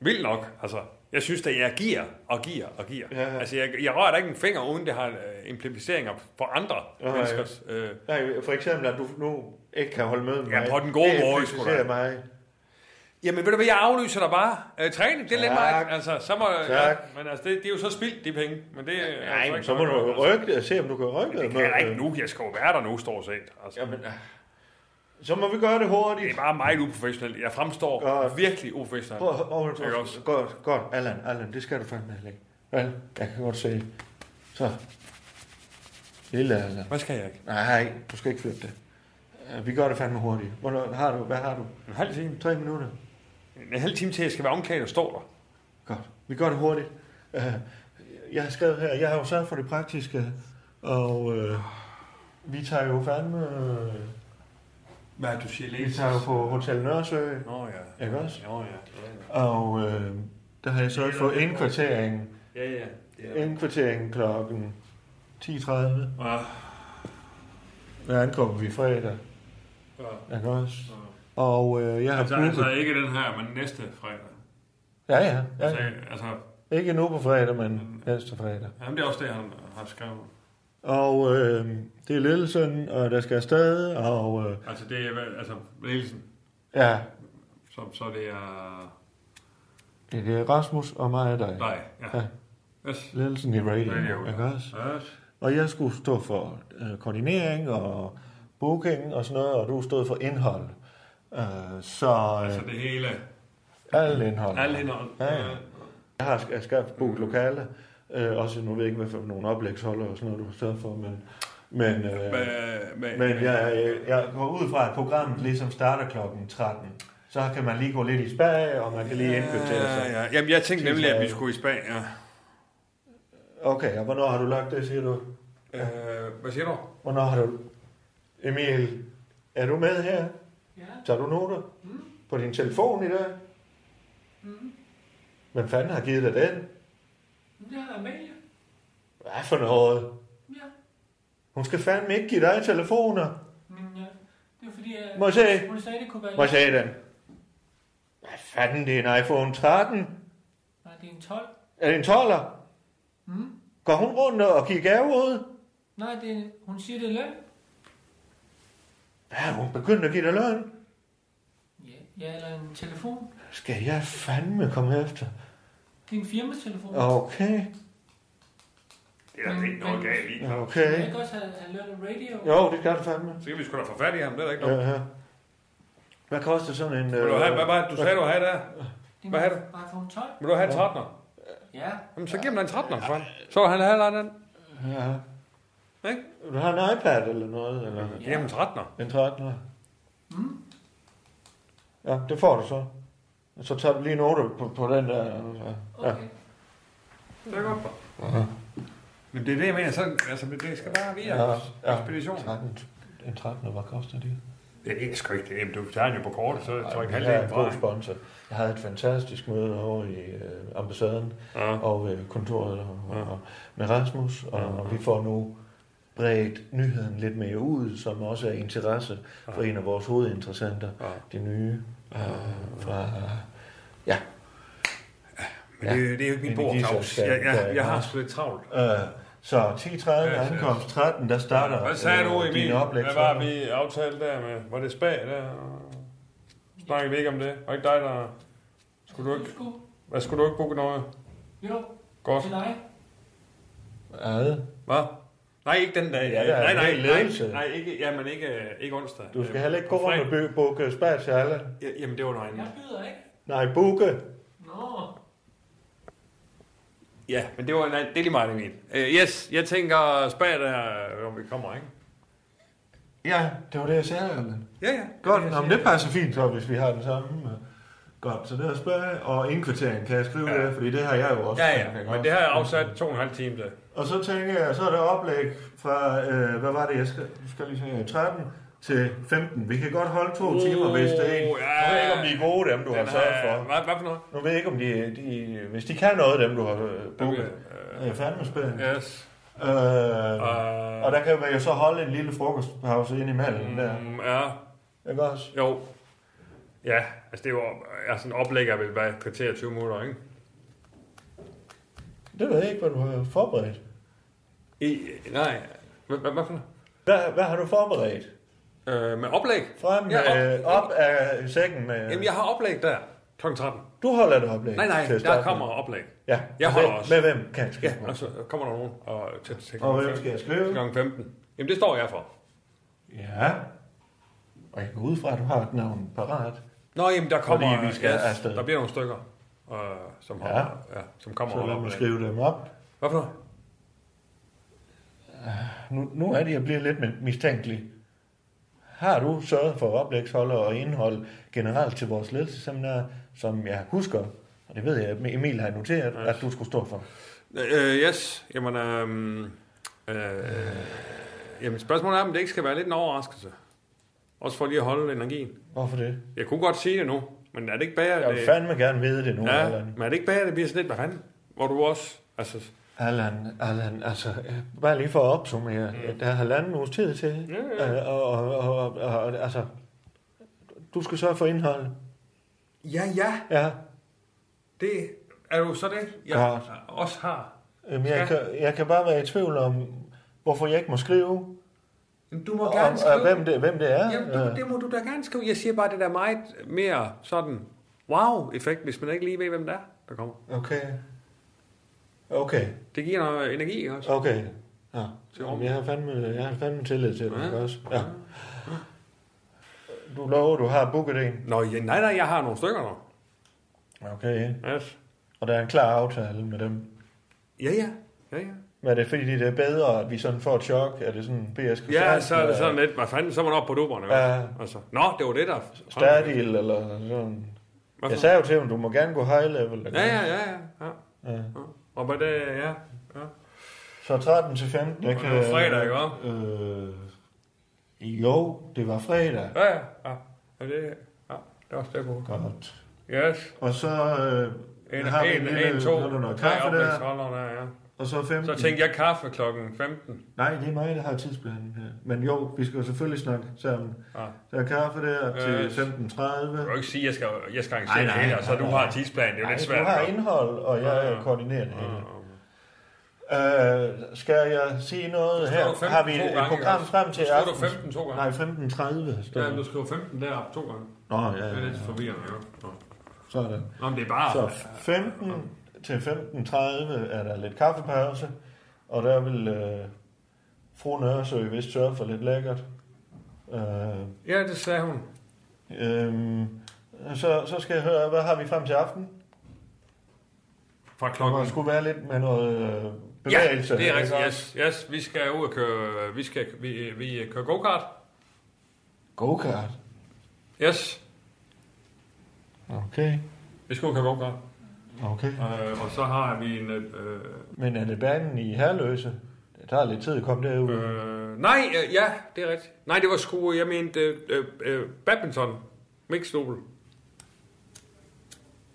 Vildt nok, altså. Jeg synes, at jeg giver og giver og giver.
Ja, ja.
Altså, jeg, jeg rører da ikke en finger, uden det har øh, implementeringer for andre
Ja, ja.
menneskers... Øh,
Nej, for eksempel, at du nu ikke kan holde møde med
Ja,
mig.
på den gode
det
måde,
sgu
sgu da.
da. mig.
Jamen ved du hvad, jeg aflyser dig bare. Øh, træning, det er lidt
Tak.
meget. Altså, så må,
Tak.
Ja, men altså, det, det, er jo så spildt, de penge. Men det, er
Nej,
altså
men
ikke
så må
noget,
du
altså.
rykke det og se, om du kan rykke
Det
det.
kan jeg ikke
øh.
nu. Jeg skal jo være der nu, stort set. Altså,
Jamen, øh, så må vi gøre det
det er
hurtigt.
bare meget uprofessionelt. Jeg fremstår
Godt.
virkelig uprofessionelt.
Prøv, prøv, prøv,
Ikke også?
prøv, godt, godt, Allan, Allan, det skal du fandme heller ikke. Vel, jeg kan godt se. Så. Lille Allan.
Hvad skal jeg ikke?
Nej, du skal ikke flytte det. Øh, Vi gør det fandme hurtigt. Hvornår, har du, hvad har du?
En halv time.
Tre minutter?
En halv time til, jeg skal være omklædt og stå der.
Godt. Vi gør det hurtigt. Øh, Jeg har skrevet her, jeg har jo sørget for det praktiske, og øh, vi tager jo fandme... Øh,
Hvad du siger,
vi tager jo på Hotel Nørresø,
Nå ja.
ikke også?
Nå ja.
Og øh, der har jeg sørget for indkvarteringen.
Ja, ja.
Indkvarteringen klokken 10.30.
Ja.
Der ankommer vi fredag,
Ja.
ikke også? Og øh, jeg har
Altså, altså
booket...
ikke den her, men næste fredag.
Ja, ja.
Altså, Mm.
ja.
altså
Ikke nu på fredag, men næste fredag.
jamen, det er også det, han har skrevet.
Og øh, det er ledelsen, og der skal afsted, og øh,
Altså, det er, vel- altså, ledelsen,
ja,
Så, så det er
det er Rasmus og mig og dig.
dig. Ja.
Ja.
ja. Yes.
Ledelsen i radio,
Radio, ja.
ikke også?
Yes.
Og jeg skulle stå for øh, koordinering og booking og sådan noget, og du stod for indhold. Øh, så
Altså
øh,
det hele.
alt indhold.
Alle indhold.
Ja, ja. Jeg har sk- skabt booket lokale, øh, også nu ved jeg ikke, hvad for nogle oplægsholder og sådan noget, du har stået for, men... men øh,
Med, med,
Men jeg, øh, jeg går ud fra, at programmet ligesom starter klokken 13. Så kan man lige gå lidt i spag, og man kan lige indkvartere
ja,
sig.
ja. Jamen, jeg tænkte nemlig, at vi
Tirsdag.
skulle i Spanien. Ja.
Okay, og hvornår har du lagt det, siger du?
Øh, hvad siger du?
Hvornår har du... Emil, er du med her?
Ja.
Tager du noter? Mm. På din telefon i dag? Mm. Hvem fanden har givet dig den?
Det er Amalie.
Hvad for noget?
Ja.
Hun skal fandme ikke give dig telefoner.
Men ja, det var fordi, at
Må jeg se?
hun sagde, det kunne være...
Hvad sagde den? Hvad fanden, det er en iPhone 13?
Nej, det er en 12.
Er det en 12'er? Mm. Går hun rundt og giver gave ud?
Nej, det er, hun siger, det er løn.
Ja, hun begyndte at give dig løgn.
Ja, ja, eller en telefon.
Skal jeg fandme komme efter?
Det er en firmatelefon.
Okay,
Det er da
Men-
ikke noget
men-
galt i.
Kan jeg
okay.
ikke også have, have løn og radio?
Jo, det gør du fandme.
Så kan vi sgu da få fat i ham, det er da ikke noget.
Ja, ja. Hvad koster sådan en... øh,
Vil du have, hvad var det, du sagde, du havde der?
Det er
Hvad
min
har
iPhone 12.
Vil du have en 13'er?
Ja.
Jamen, så giv ham da en 13'er, for fanden. Så vil han have en anden.
Ja.
Ikke?
Du har en iPad eller noget, eller
Giv ham en 13'er.
en 13'er?
Mm.
Ja, det får du så. Og Så tager du lige noter på, på den der... øh, Ja.
Okay.
Det er godt for. Jamen, det er det, jeg mener. Sådan, altså, det skal bare via
Ja, ja.
ekspedition.
13, en 13'er, hvad koster det?
Det er sgu ikke det. Jamen, du tager den jo på kortet, så tror jeg ikke
Jeg er
halvdelen
en god
fra.
sponsor. Jeg havde et fantastisk møde over i øh, ambassaden
Ja.
og øh, kontoret og, og, med Rasmus, og, og vi får nu bredt nyheden lidt mere ud, som også er interesse for en af vores hovedinteressenter, de nye øh, fra... Ja.
Men det, det er jo ikke mit bord, Claus. Jeg, jeg, jeg har sgu lidt travlt.
Øh, så 10.30 ankomst 13, der starter
Hvad sagde du,
øh,
Emil?
dine oplæg.
Hvad var vi aftalte der med? Var det spag der? Snakkede vi ikke om det? Var ikke dig, der... Skulle du ikke...
Husk nu.
Hvad skulle du ikke booke noget?
Jo,
Godt.
til dig.
Ja,
Hvad? Nej, ikke den dag.
Ja, der er
nej,
en
nej,
hel
nej,
ledelse.
nej, ikke, jamen ikke, ikke onsdag.
Du skal
Øh,
heller ikke gå
på
rundt og
fredag.
bygge bukke spær til alle.
Ja, Jamen, det var noget andet.
Jeg byder ikke.
Nej, bukke.
Nå,
Ja, men det var nej, det er lige meget, Emil. Uh, yes, jeg tænker spag der, om vi kommer, ikke?
Ja, det var det, jeg sagde. Allan.
Ja, ja.
Godt, Nå, men det passer fint så, hvis vi har den samme. øh. Godt, så det er spær og indkvartering, kan jeg skrive
Ja.
ja. det? Fordi det har jeg jo også.
Ja,
Kan jeg
ja, men
godt.
det har jeg afsat to og en halv time til.
Og så tænker jeg, så er der oplæg fra, øh, hvad var det, jeg skal, nu skal jeg lige se, 13 til 15. Vi kan godt holde to timer, hvis det er en.
Oh, ja.
Jeg ved ikke, om de er gode, dem du har
Den
sørget
er-
for.
Hvad, hvad for noget?
Nu ved jeg ikke, om de, de, hvis de kan noget, dem du har øh, booket.
Okay.
Jeg er fandme spændende.
øh, Yes.
Øh,
Uh,
og der kan man jo så holde en lille frokostpause ind imellem mm. der.
mm, ja,
Ikke også?
jo. Ja, altså det er jo altså en oplægger vil være et kvarter og 20 minutter, ikke?
Det ved jeg ikke, hvad du har forberedt.
I, nej, hvad, hvad, hvad for noget?
Hvad, hvad har du forberedt?
Øh, med oplæg?
Frem
Ja, op-
ja, op, øh, op af sækken med...
Jamen, jeg har oplæg der kl. 13.
Du holder et oplæg.
Nej, nej,
til at
der
starte
kommer
med.
oplæg.
Ja,
Jeg
og
holder
hvem-
også.
Med hvem kan jeg skrive?
Ja, og så kommer der nogen og til, til,
Og hvem skal jeg skrive?
Kl. 15. Jamen, det står jeg for.
Ja. Og jeg går ud fra, at du har et navn parat.
Nå, jamen, der kommer...
Fordi vi skal afsted.
der bliver nogle stykker, øh, som,
Ja.
har, ja. som kommer
Så lad
oplæg.
mig skrive dem op.
Hvad for noget?
Nu, nu er det, jeg bliver lidt mistænkelig. Har du sørget for oplægsholder og indhold generelt til vores ledelsesseminar, som jeg husker, og det ved jeg, at Emil har noteret, at du skulle stå for?
Øh, yes, jamen, øh, øh, jamen spørgsmålet er, om det ikke skal være lidt en overraskelse. Også for lige at holde energien.
Hvorfor det?
Jeg kunne godt sige det nu, men er det ikke bedre,
Jeg
at
vil
det,
fandme gerne vide det nu, ja.
ja,
Allan.
men er det ikke bedre, at det bliver sådan lidt, hvad fanden? Hvor du også, altså,
Allan, Allan, altså, øh, bare lige for at opsummere, mm. der er halvanden uges tid til,
Ja,
øh, og, og, og, og, og, altså, du skal sørge for indhold.
ja, ja,
Ja,
det er jo så det, jeg
Godt.
også har.
Øhm, jeg,
Skal-
kan, jeg kan bare være i tvivl om, hvorfor jeg ikke må skrive,
Men Du må
og,
gerne skrive.
og hvem, det, hvem det er.
Jamen, du,
Øh,
det må du da gerne skrive. Jeg siger bare, det der er meget mere sådan wow-effekt, hvis man ikke lige ved, hvem der er, der kommer.
Okay. Okay,
Det giver noget energi ikke også.
okay. Ja.
Til
Jamen,
rum.
jeg har fandme, jeg har fandme tillid til dig
Ja.
ikke også. Ja. Du lover, du har booket en.
Nå, ja, nej, nej, jeg har nogle stykker nu.
Okay.
Yes.
Og der er en klar aftale med dem.
Ja, ja. Ja, ja.
Men er det fordi, det er bedre, at vi sådan får et chok? Er det sådan BS
ja så er det sådan lidt, hvad fanden, så er man oppe på duberne.
Ja.
Altså. Nå, det var det der.
Stadil eller sådan. Jeg
Hvad for-
sagde jo til ham, du må gerne gå high level.
Ja, ja, ja, ja. ja.
ja.
Og på det, ja. ja.
Så 13 til 15, jeg
Og det var fredag, ikke også?
Øh, jo, det var fredag.
Ja, ja, ja. ja det, ja, det er også det på.
Godt.
Yes.
Og så øh,
En,
har vi
en,
lille-
en,
så er der
to,
noget
tre
kaffe der,
oplægsholdere der, ja.
og så 15.
Så tænkte jeg kaffe klokken 15.
Nej, det er mig, der har tidsplanen her. Men jo, vi skal jo selvfølgelig snakke sammen.
Ja.
Der er kaffe der til
Øh,
15.30.
Du kan jo ikke sige, at jeg skal, jeg skal
Nej,
arrangere det
nej,
hele, og så
nej,
du
nej.
har tidsplan. Det er jo
Nej,
lidt svært.
du har
ikke?
indhold, og jeg
Ja, Mm. ja.
koordinerer det hele.
Ja, okay.
Øh, skal jeg sige noget
Så
her?
står du 15
Har vi
to
et
gange,
program
ikke?
frem til
Så står du
aften?
15 to gange.
Nej, 15.30. står
Ja,
der.
men du skriver 15 deroppe to gange.
Nå, ja,
Det er
ja, ja.
lidt forvirrende, jo. Nå.
Sådan.
Nå, men det er bare...
Så 15 til 15.30 er der lidt kaffepause, og der vil øh, fru Nørresø vist sørge for lidt lækkert. Øh,
Ja, det sagde hun.
øh, så, så skal jeg høre, hvad har vi frem til aften?
Fra
Der
klokken...
skulle være lidt med noget øh,
Ja,
bevægelse.
det er rigtigt.
ikke?
Yes, yes, vi skal ud og køre... Vi, skal, vi, vi kører go-kart.
Go-kart.
Yes,
Okay,
vi skal ud og køre go-kart.
okay.
Øh, og så har vi en... Øh,
Men er det banen i Herløse? Det tager lidt tid at komme derud. Øh.
øh, nej, øh, ja, det er rigtigt. Nej, det var sgu... Jeg mente øh, øh, øh, badminton. Mixed double.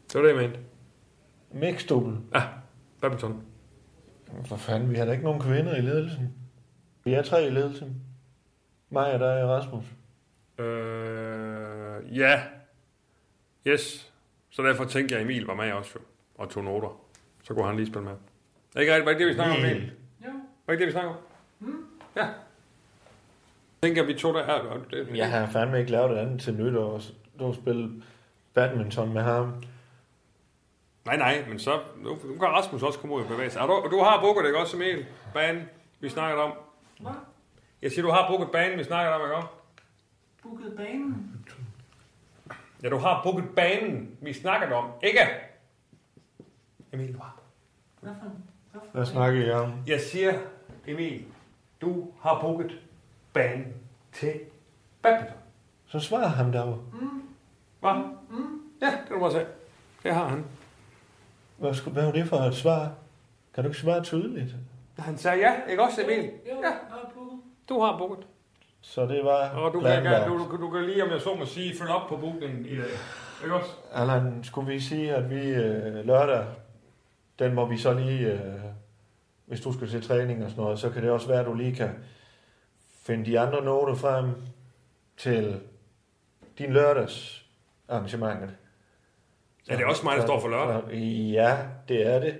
Det var det, jeg mente.
Mixdobel.
Ja, badminton.
For fanden, vi har da ikke nogen kvinder i ledelsen. Vi er tre i ledelsen. Mig og dig og Rasmus.
Øh, ja. Yes. Så derfor tænkte jeg, at Emil var med også jo, og tog noter. Så kunne han lige spille med. Er ikke rigtigt? Var det ikke det, vi snakker om, Emil?
Jo.
Var det ikke det, vi snakker om? Ja. Jeg tænker, at vi tog der her. og Det,
Jeg har fandme ikke lavet det andet til nytår. Du har spillet badminton med ham.
Nej, nej, men så nu, nu kan Rasmus også komme ud og bevæge sig. Og du, du har booket, ikke også, Emil? Banen, vi snakker om.
Hvad?
Jeg siger, du har booket banen, vi snakker om, ikke også?
Booket banen.
Ja, du har booket banen, vi snakker om, ikke? Emil, du har.
Hvad for en? Hvad for
Hvad snakker I om?
Jeg siger, Emil, du har booket banen til badminton.
Så svarer ham der jo.
Hvad? Mm. Ja, det kan du bare sige. Det har han.
Hvad, sku- hvad var det for et svar? Kan du ikke svare tydeligt?
Han sagde ja, ikke også, Emil?
Jo,
Ja,
jeg har booket.
du har booket.
Så det var
Og du kan,
planlagt.
du, du, du kan lige, om jeg så må sige, følge op på bookingen i dag. Ikke også?
Allan, skulle vi sige, at vi øh, lørdag, den må vi så lige, øh, hvis du skal til træning og sådan noget, så kan det også være, at du lige kan finde de andre noter frem til din lørdags arrangementet.
Ja, det er også mig, der står for lørdag.
Ja, det er det.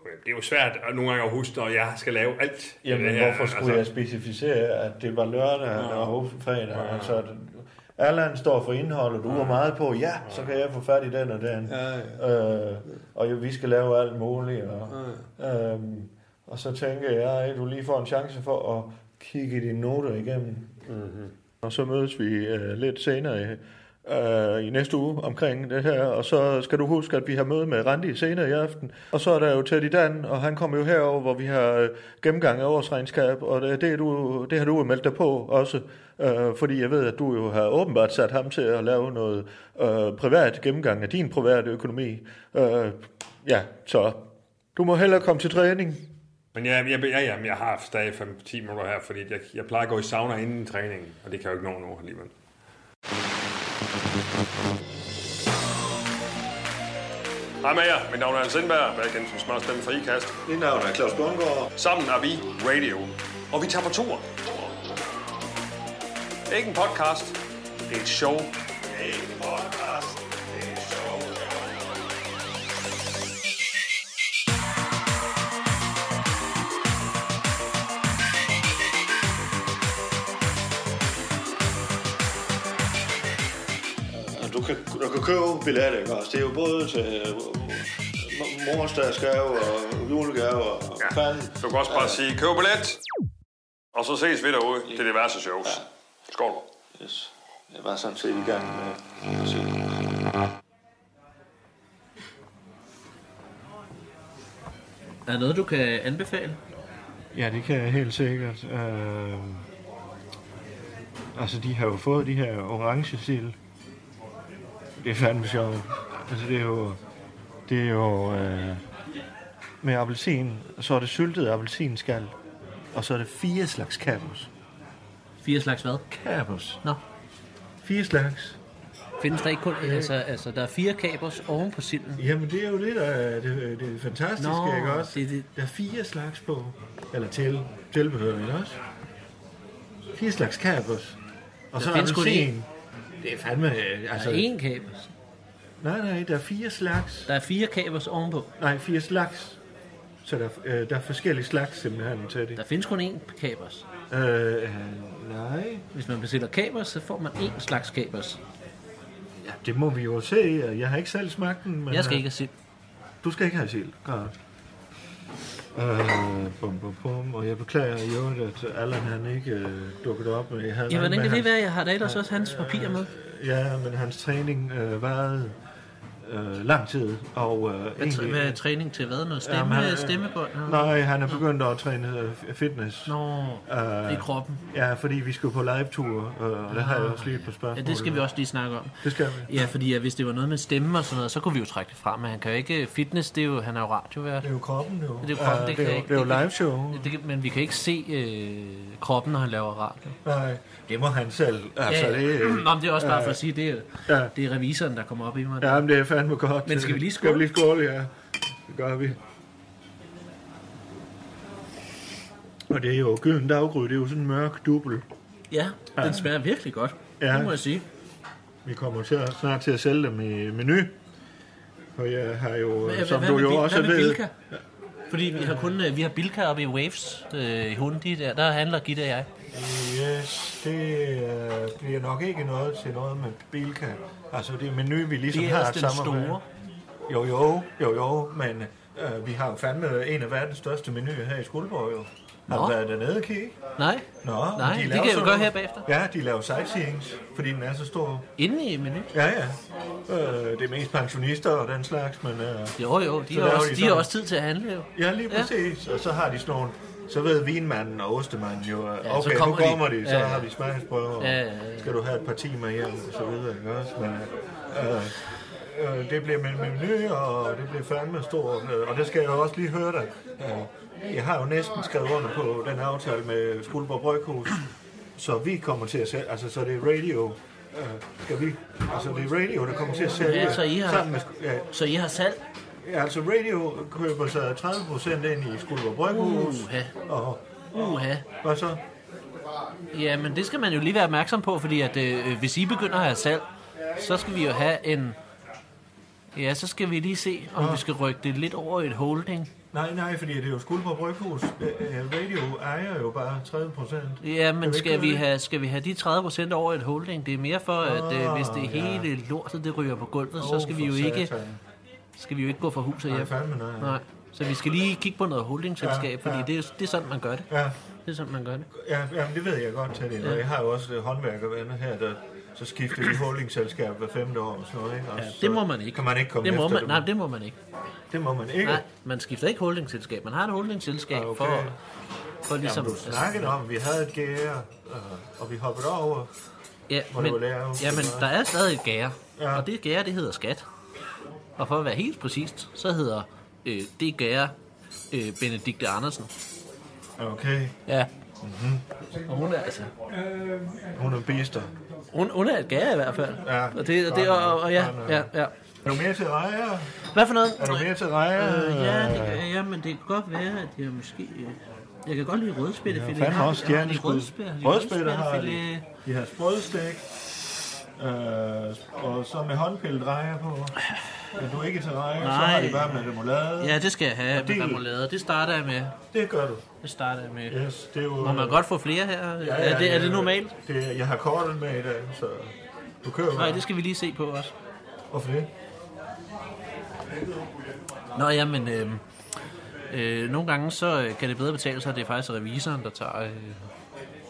Okay, Det er jo svært at nogle gange at huske, når jeg skal lave alt. i
Jamen,
det
ja,
her,
hvorfor skulle altså... jeg specificere, at det var lørdag ja. og fredag? Ja. Altså, Allan står for indholdet, du var meget på, ja, så kan jeg få fat i den og den. Ja, ja. Øh, og jo, vi skal lave alt muligt. Og, ja. øhm, og så tænker jeg, at du lige får en chance for at kigge dine noter igennem. Mm-hmm. Og så mødes vi øh, lidt senere i, øh, i næste uge omkring det her, og så skal du huske, at vi har møde med Randi senere i aften. Og så er der jo Teddy Dan, og han kommer jo herover, hvor vi har øh, gennemgang af årsregnskab, og det, det, er du, det har du jo meldt dig på også, øh, fordi jeg ved, at du jo har åbenbart sat ham til at lave noget øh, privat gennemgang af din private økonomi. Øh, ja, så du må hellere komme til træning.
Men jeg, jeg, ja, ja, men jeg har stadig 5-10 minutter her, fordi jeg, jeg plejer at gå i sauna inden træningen, og det kan jeg jo ikke nå nu alligevel. Hej med jer. Mit navn er Hans Sindberg, og jeg kendt som smart stemme fra IKAST.
Mit navn er Claus Bundgaard.
Sammen er vi Radio, og vi tager på tur. Det er ikke en podcast, det er et show. Det er ikke en podcast, det er et show.
Du kan, du kan købe billetter, ikke også? Det er jo både til øh, morsdagsgave og julegave og ja. fanden.
Du kan også bare sige, køb billet, og så ses vi derude til diverse shows. Skål.
Yes. Jeg var sådan set i gang med at se.
Er der noget, du kan anbefale?
Ja, det kan jeg helt sikkert. Øh... Altså, de har jo fået de her orange sild. Det er fandme sjovt. Altså, det er jo... Det er jo... Øh... Med appelsin, så er det syltet appelsinskal. Og så er det fire slags kapus.
Fire slags hvad?
Kapus?
Nå.
Fire slags?
Findes der ikke kun... Altså, altså der er fire kapers oven på silden.
Jamen, det er jo det, der er det, det er fantastiske,
Nå,
ikke også?
det er det.
Der er fire slags på. Eller til, tilbehør, ikke også? Fire slags kapers. Og så er
findes kun
appelsin. Det er fandme... øh, Altså,
Der er én kapers.
Nej, nej, der er fire slags.
Der er fire kapers ovenpå.
Nej, fire slags. Så der, øh, der er forskellige slags simpelthen til det.
Der findes kun én kapers.
Øh, øh, nej.
Hvis man bestiller kapers, så får man én slags kapers.
Ja, det må vi jo se. Jeg har ikke selv smagt den, men...
Jeg skal
øh,
ikke have sild.
Du skal ikke have sild. Godt. Øh, bum, bum, bum. Og jeg beklager i øvrigt, at Allan han ikke øh, dukkede op. Jeg havde
Ja,
regnet
hvordan
med
kan det
hans-
være? Jeg har da ellers også hans papirer med.
Ja, men hans træning øh, varede øh, lang tid. Og, øh,
Hvad, tr- hvad er træning til hvad? Noget stemme,
Jamen, øh, han-
stemmebånd? eller-
Nej, han er begyndt at træne øh, f- fitness.
Nå,
Øh,
i kroppen.
Ja, fordi vi skal på live-tour, øh, og der har jeg også lige et par spørgsmål.
Ah. Ja, det skal vi også lige snakke om.
Det skal vi.
Ja, fordi ja, hvis det var noget med stemme og sådan noget, så kunne vi jo trække det frem, men han kan jo ikke fitness, det er jo, han er jo radiovært.
Det er jo kroppen, jo.
Det er jo kroppen, det
Øh, det,
kan
er jo,
jeg ikke-
det er jo
det kan-
live-show.
Det, kan- men vi kan ikke se øh, kroppen, når han laver radio.
Nej, det må han selv. Altså,
ja,
det,
ja.
øh,
[clears throat] Nå, men det er også bare for at sige, det er,
ja.
det er revisoren, der kommer op i mig.
ja, men det er fandme godt. øh,
Men skal vi lige
Skal vi lige skåle, ja. Det gør vi. Og det er jo gylden daggry, det er jo sådan en mørk dubbel.
Ja, den smager virkelig godt.
Ja.
Det må jeg sige.
Vi kommer til at, snart til at sælge dem i menu. Og jeg har jo,
Hvad,
som
hvad,
du
hvad
jo
med, Bil-
også
hvad med
ved...
Bilka? Fordi vi har kun øh, vi har Bilka oppe i Waves øh, i Hundi der. Der handler Gitte og jeg.
Yes, det øh, bliver nok ikke noget til noget med Bilka. Altså det er menu, vi ligesom
Det er
har
også
et
den
samarbejde.
store.
Jo, jo, jo, jo, men øh, vi har jo fandme en af verdens største menuer her i Skuldborg jo. Har du
Nå.
været dernede og kigge?
Nej,
Nå,
Nej,
men laver
det kan jeg
sådan
jo gøre
noget-
her bagefter.
Ja, de laver sightseeings, fordi den er så stor.
inde i menu.
Ja, ja. Øh, det er mest pensionister og den slags, men... Øh,
Jo, jo, de
Så
har,
laver
også,
de
de
sådan-
har også tid til at handle jo.
Ja, lige
Ja.
præcis. Ja. Og så har de sådan nogle, så ved vinmanden og ostemanden jo, ja,
så
okay, så
kommer
kommer nu
de.
kommer de, de så
Ja, ja.
ja. har vi smagsprøver,
Ja, ja, ja.
skal du have et par timer hjem, og så videre, ikke også? Men, øh, øh, det bliver min menu, og det bliver fandme stort, øh, og det skal jeg jo også lige høre dig. Øh, jeg har jo næsten skrevet under på den aftale med Skuldborg Bryghus, så vi kommer til at sælge, altså så det er radio, øh, skal vi, altså det er radio, der kommer til at sælge
Ja, så I har-
sammen med, Sk- ja,
Så I har salg?
Ja, altså radio køber sig 30% ind i Skuldborg Bryghus.
Uha.
Og
Uha.
hvad så?
Ja, men det skal man jo lige være opmærksom på, fordi at, øh, hvis I begynder at have salg, så skal vi jo have en... Ja, så skal vi lige se, om vi skal rykke det lidt over i et holding.
Nej, nej, fordi det er jo Skuldborg Bryghus. Øh, øh, Radio ejer jo bare 30%.
Ja, men
ikke
skal vi,
det?
have, skal vi have de 30% over i et holding? Det er mere for, at øh, hvis det
Ah,
hele lortet det ryger på gulvet, så
Åh,
skal vi
for
jo ikke,
satan.
skal vi jo ikke gå fra hus og
Nej,
hjem.
fandme nej.
Nej. Så vi skal lige kigge på noget holdingselskab,
Ja,
fordi
ja.
det er, det er sådan, man gør det.
Ja,
Det er sådan, man gør det.
ja, jamen, det ved jeg godt, Teddy. Og jeg har jo også øh, håndværkervenner her, der så skifter de holdingselskab hver femte år. og Sådan noget, ikke? Og
Ja,
så
det må man ikke.
Kan man ikke komme
det må
efter
man,
dem.
Nej, det må man ikke.
det må man ikke.
Nej, man skifter ikke holdingselskab. Man har et holdingselskab
Ah, okay.
okay. for, for ligesom...
Du snakkede om, at vi havde et gære, øh, og vi hoppede over.
ja,
hvor
men,
det var lavet.
ja, men der er stadig et gære.
Ja.
Ja. Og det gære, det hedder skat. Og for at være helt præcist, så hedder øh, det gære øh, Benedikte Andersen.
Okay,
Ja. Mm-hmm. Og hun er altså...
hun er bister.
Hun, hun er et gære i hvert fald.
Ja,
Og det, og det, og, og, og ja, ja, ja.
Er du mere til rejer?
Hvad for noget?
Er du mere til rejer?
Øh, ja, det, kan- ja, men det kan godt være, at jeg måske... øh, Jeg kan godt lide rødspættefilet.
Ja, fandme
Har-
også
har de
stjerneskud.
rødspætte- har de
Rødspætte har de.
rødspættefilet?
De har sprødstik, øh, og så med håndpillet rejer på. Er du ikke til rejer, så har
Nej.
de bare med remoulade.
Ja, det skal jeg have med
det-
remoulade. Det starter jeg med.
Det gør du.
Det starter jeg med.
Yes, det er jo,
Må man godt få flere her? er, det, er det normalt?
Det, jeg har kortet med i dag, så du kører
Nej, det skal vi lige se på også.
Hvorfor det?
Nå ja, men øh, øh, nogle gange så øh, kan det bedre betale sig, at det er faktisk revisoren, der tager øh,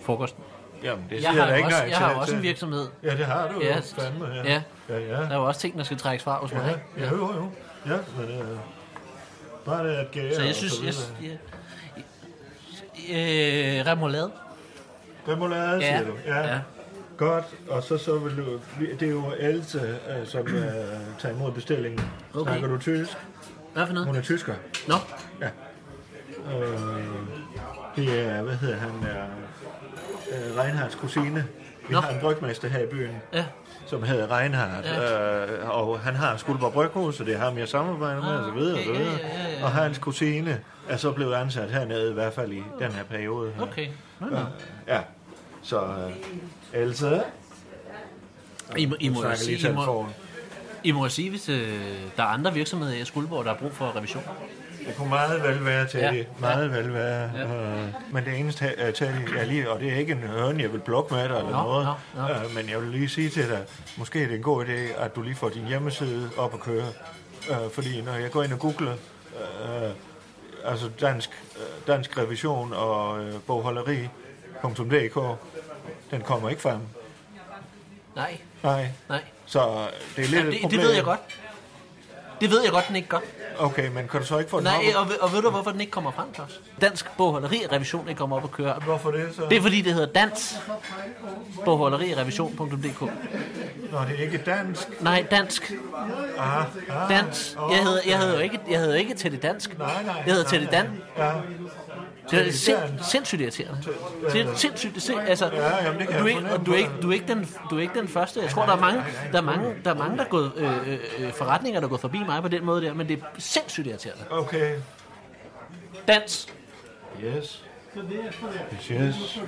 frokosten.
Jamen, det
Jeg
siger
har,
da
jo
ikke
også,
engang
jeg
til
har jo
at
også en
tage.
virksomhed.
Ja, det har du
Ja.
jo. Fandme, ja.
Ja.
ja, ja.
Der er jo også ting, der skal trækkes fra hos mig.
Ja, ja, jo, jo. Ja, men øh, bare det at gære
Så jeg
og
synes, jeg,
videre.
jeg, øh, remoulade.
Remoulade,
Ja.
siger du?
Ja.
Godt, og så, så vil du... Det er jo Else, øh, som øh, tager imod bestillingen.
Okay.
Snakker du tysk?
Hvad for noget?
Hun er tysker.
Nå,
Øh, det er, hvad hedder han? Er, øh, Reinhards kusine. Vi
Nå.
har en brygmester her i byen,
ja.
som hedder Reinhard. Øh, og han har Skuldborg Bryghus, og det er ham, jeg samarbejder med, og så videre, og så
Ah, okay, ja,
videre.
ja, ja, ja.
Og hans kusine er så blevet ansat hernede, i hvert fald i den her periode. Her.
Okay. Nå, nå.
Ja, så øh, Else...
I, må- I, må, jo
snakker lige
sige, I, må,
telefonen.
I må jo sige, hvis øh, der er andre virksomheder i Skuldborg, der har brug for revision.
Det kunne meget vel være til
Ja.
ja. Meget vel være. Ja. Øh, men det eneste øh, til jeg lige, og det er ikke en høne, jeg vil blokke med dig eller
Nå,
noget,
nå, nå.
Øh, men jeg vil lige sige til dig, måske er det en god idé, at du lige får din hjemmeside op at køre. Øh, fordi når jeg går ind og googler, øh, altså dansk, øh, dansk revision og øh, bogholderi.dk, den kommer ikke frem.
Nej,
Nej,
nej.
så det er lidt
Ja,
et
det, det
problem.
ved jeg godt. Det ved jeg godt, den ikke gør.
Okay, men kan du så ikke få den
Nej,
op?
og, ved- og ved du, hvorfor den ikke kommer frem, Claus? Dansk bogholderi og revision ikke kommer op og køre.
Hvorfor det så?
Det er fordi, det hedder dansk bogholderi og revision.dk.
Nå, det er ikke dansk.
Nej, dansk.
Aha, ah,
Dansk. Jeg hedder, jeg hedder jo ikke, jeg hedder ikke Teddy Dansk.
Nej, nej.
Jeg hedder Teddy
nej,
Dan.
Ja,
Det er
Dan.
sind, sindssygt irriterende. Det er sindssygt, det er, altså,
Ja, jamen, det kan
du,
jeg
er ikke,
fornemme
og du, er
på
ikke,
dig.
du, er ikke den, du er ikke den første. Jeg tror, der er mange, der er mange, der er mange, der er gået, øh, øh, øh, forretninger, der er gået forbi mig på den måde der, men det er sindssygt irriterende.
okay.
Dans,
Yes. Yes.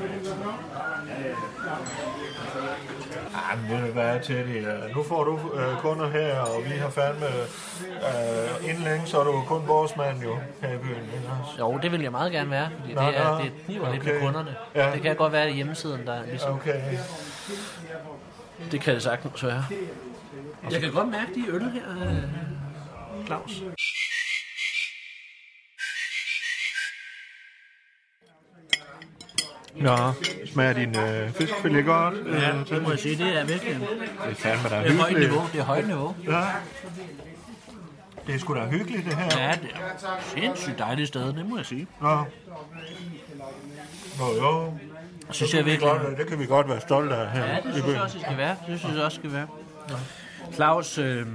Ej, men ved du hvad, Teddy? øh, Nu får du øh, kunder her, og vi har fandme... Øh, inden længe, så er du kun vores mand jo her i byen, ikke også?
Jo, det vil jeg meget gerne være, fordi
Nå,
det, er,
nå.
det kniver lidt med
Okay.
kunderne.
Ja.
Det kan godt være at hjemmesiden, der er ligesom...
Okay.
Det kan det sagtens være. Jeg kan godt mærke de øl her, øh, Claus.
Nå, smager din øh, fiskfilet godt? Ja. Øh,
Det må jeg sige, det er virkelig
det er fandme da
det er højt
hyggeligt.
niveau. Det er højt niveau.
Ja. Det er sgu da hyggeligt, det her.
Ja, det er et sindssygt dejligt sted, det må jeg sige.
Nå. Nå jo,
Det synes jeg
det,
virkelig.
godt, det kan vi godt være stolte af her.
Ja, det
i
synes
byen.
jeg også, det skal være. Det synes jeg også, det skal være. Claus, øh,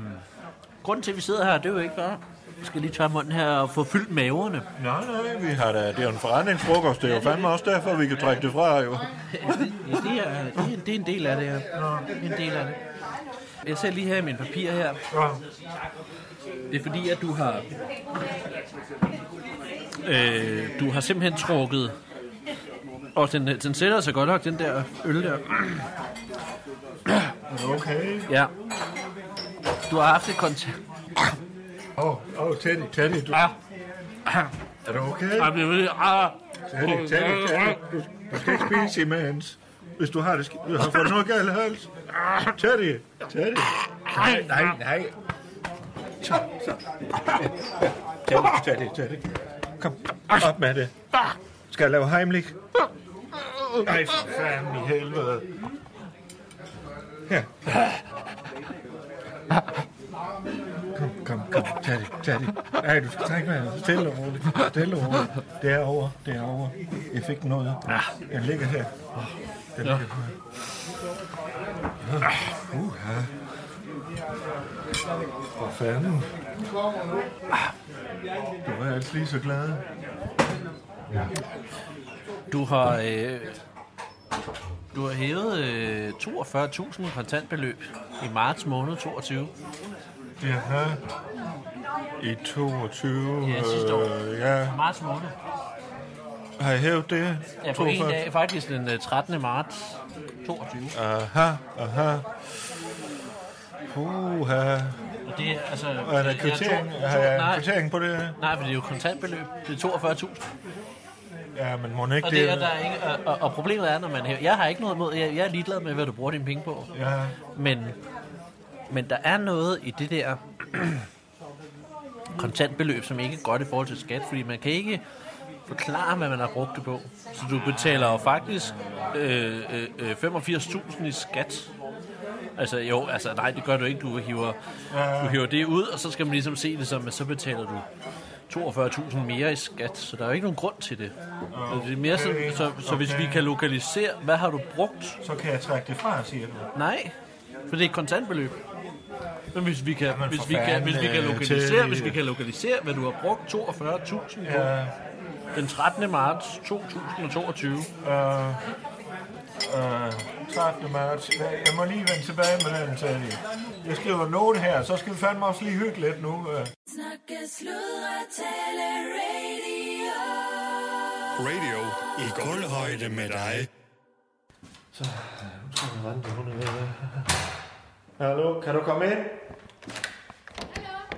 grunden til, at vi sidder her, det er jo ikke bare... Vi skal lige tørre munden her og få fyldt maverne.
Nej, nej, vi har da, det er jo en forretningsfrokost, det er jo fandme også derfor, vi kan trække det fra jo.
[laughs] Ja, det, er, det, er, det er en del af det her. Det er en del af det. Jeg ser lige her i mine papirer her. Det er fordi, at du har... Øh, du har simpelthen trukket... Og den, den sætter sig godt nok, den der øl der.
Okay.
Ja. Du har haft et kontakt...
Åh, oh, oh, Teddy, Teddy, du,
Ah,
er du okay?
jeg bliver ved. Ah,
Teddy, Teddy, Teddy, du, du skal ikke spise imens. Hvis du har det, sk- du har fået noget galt i hals. Ah, Teddy, Teddy. Nej, nej, nej. Så, så. Teddy, Teddy, Teddy. Kom, op med det. Skal jeg lave heimlich? Ah. Nej, for fanden i helvede. Her. Kom, kom, kom. Tag det, tag det. Nej, du skal trække vejret. Stille og roligt. Stille og roligt. Det er over. Det er over. Jeg fik den ud. Ja. Den ligger her. Åh, Den ligger her. Ja. Uh, ja. For fanden. Du var altså lige så glad.
Du har... Øh, du har hævet øh, 42.000 kontantbeløb i marts måned 22.
Ja. I 22...
Ja, sidste år.
øh, ja.
Marts måned?
Har jeg hævet det?
Ja, på en
42?
dag. Faktisk den øh, 13. marts 22.
Aha, aha. Puha.
Og det er altså...
Er der
jeg- jeg
kvittering?
tror-
Har jeg
nej,
kvittering på det?
nej, for det er jo kontantbeløb. Det er 42.000.
Ja, men må den ikke
Og, det er,
det?
der er ikke, og- og, og, problemet er, når man hæver... Jeg har ikke noget imod... Jeg, jeg er ligeglad med, hvad du bruger dine penge på.
Ja,
Men, men der er noget i det der kontantbeløb, som ikke er godt i forhold til skat, fordi man kan ikke forklare, hvad man har brugt det på. Så du betaler jo faktisk øh, øh, øh, 85.000 i skat. Altså jo, altså nej, det gør du ikke. Du hiver, du hiver det ud, og så skal man ligesom se det som, at så betaler du 42.000 mere i skat, så der er jo ikke nogen grund til det. Altså, det er mere sådan, så, så hvis vi kan lokalisere, hvad har du brugt,
så kan jeg trække det fra, siger du.
Nej, for det er et kontantbeløb. Men hvis vi kan,
Jamen, for
hvis vi kan,
fanden,
hvis vi kan
øh,
lokalisere,
til-
hvis vi kan lokalisere, hvad du har brugt 42.000 på
Ja,
den 13. marts 2022.
øh, øh, 13. marts. Ja, Jeg må lige vende tilbage med den, Teddy. Jeg skriver en note her, så skal vi fandme også lige hygge lidt nu. øh.
Snakke, sludre, tale, radio.
Radio i gulvhøjde med dig.
Hallo, kan du komme ind?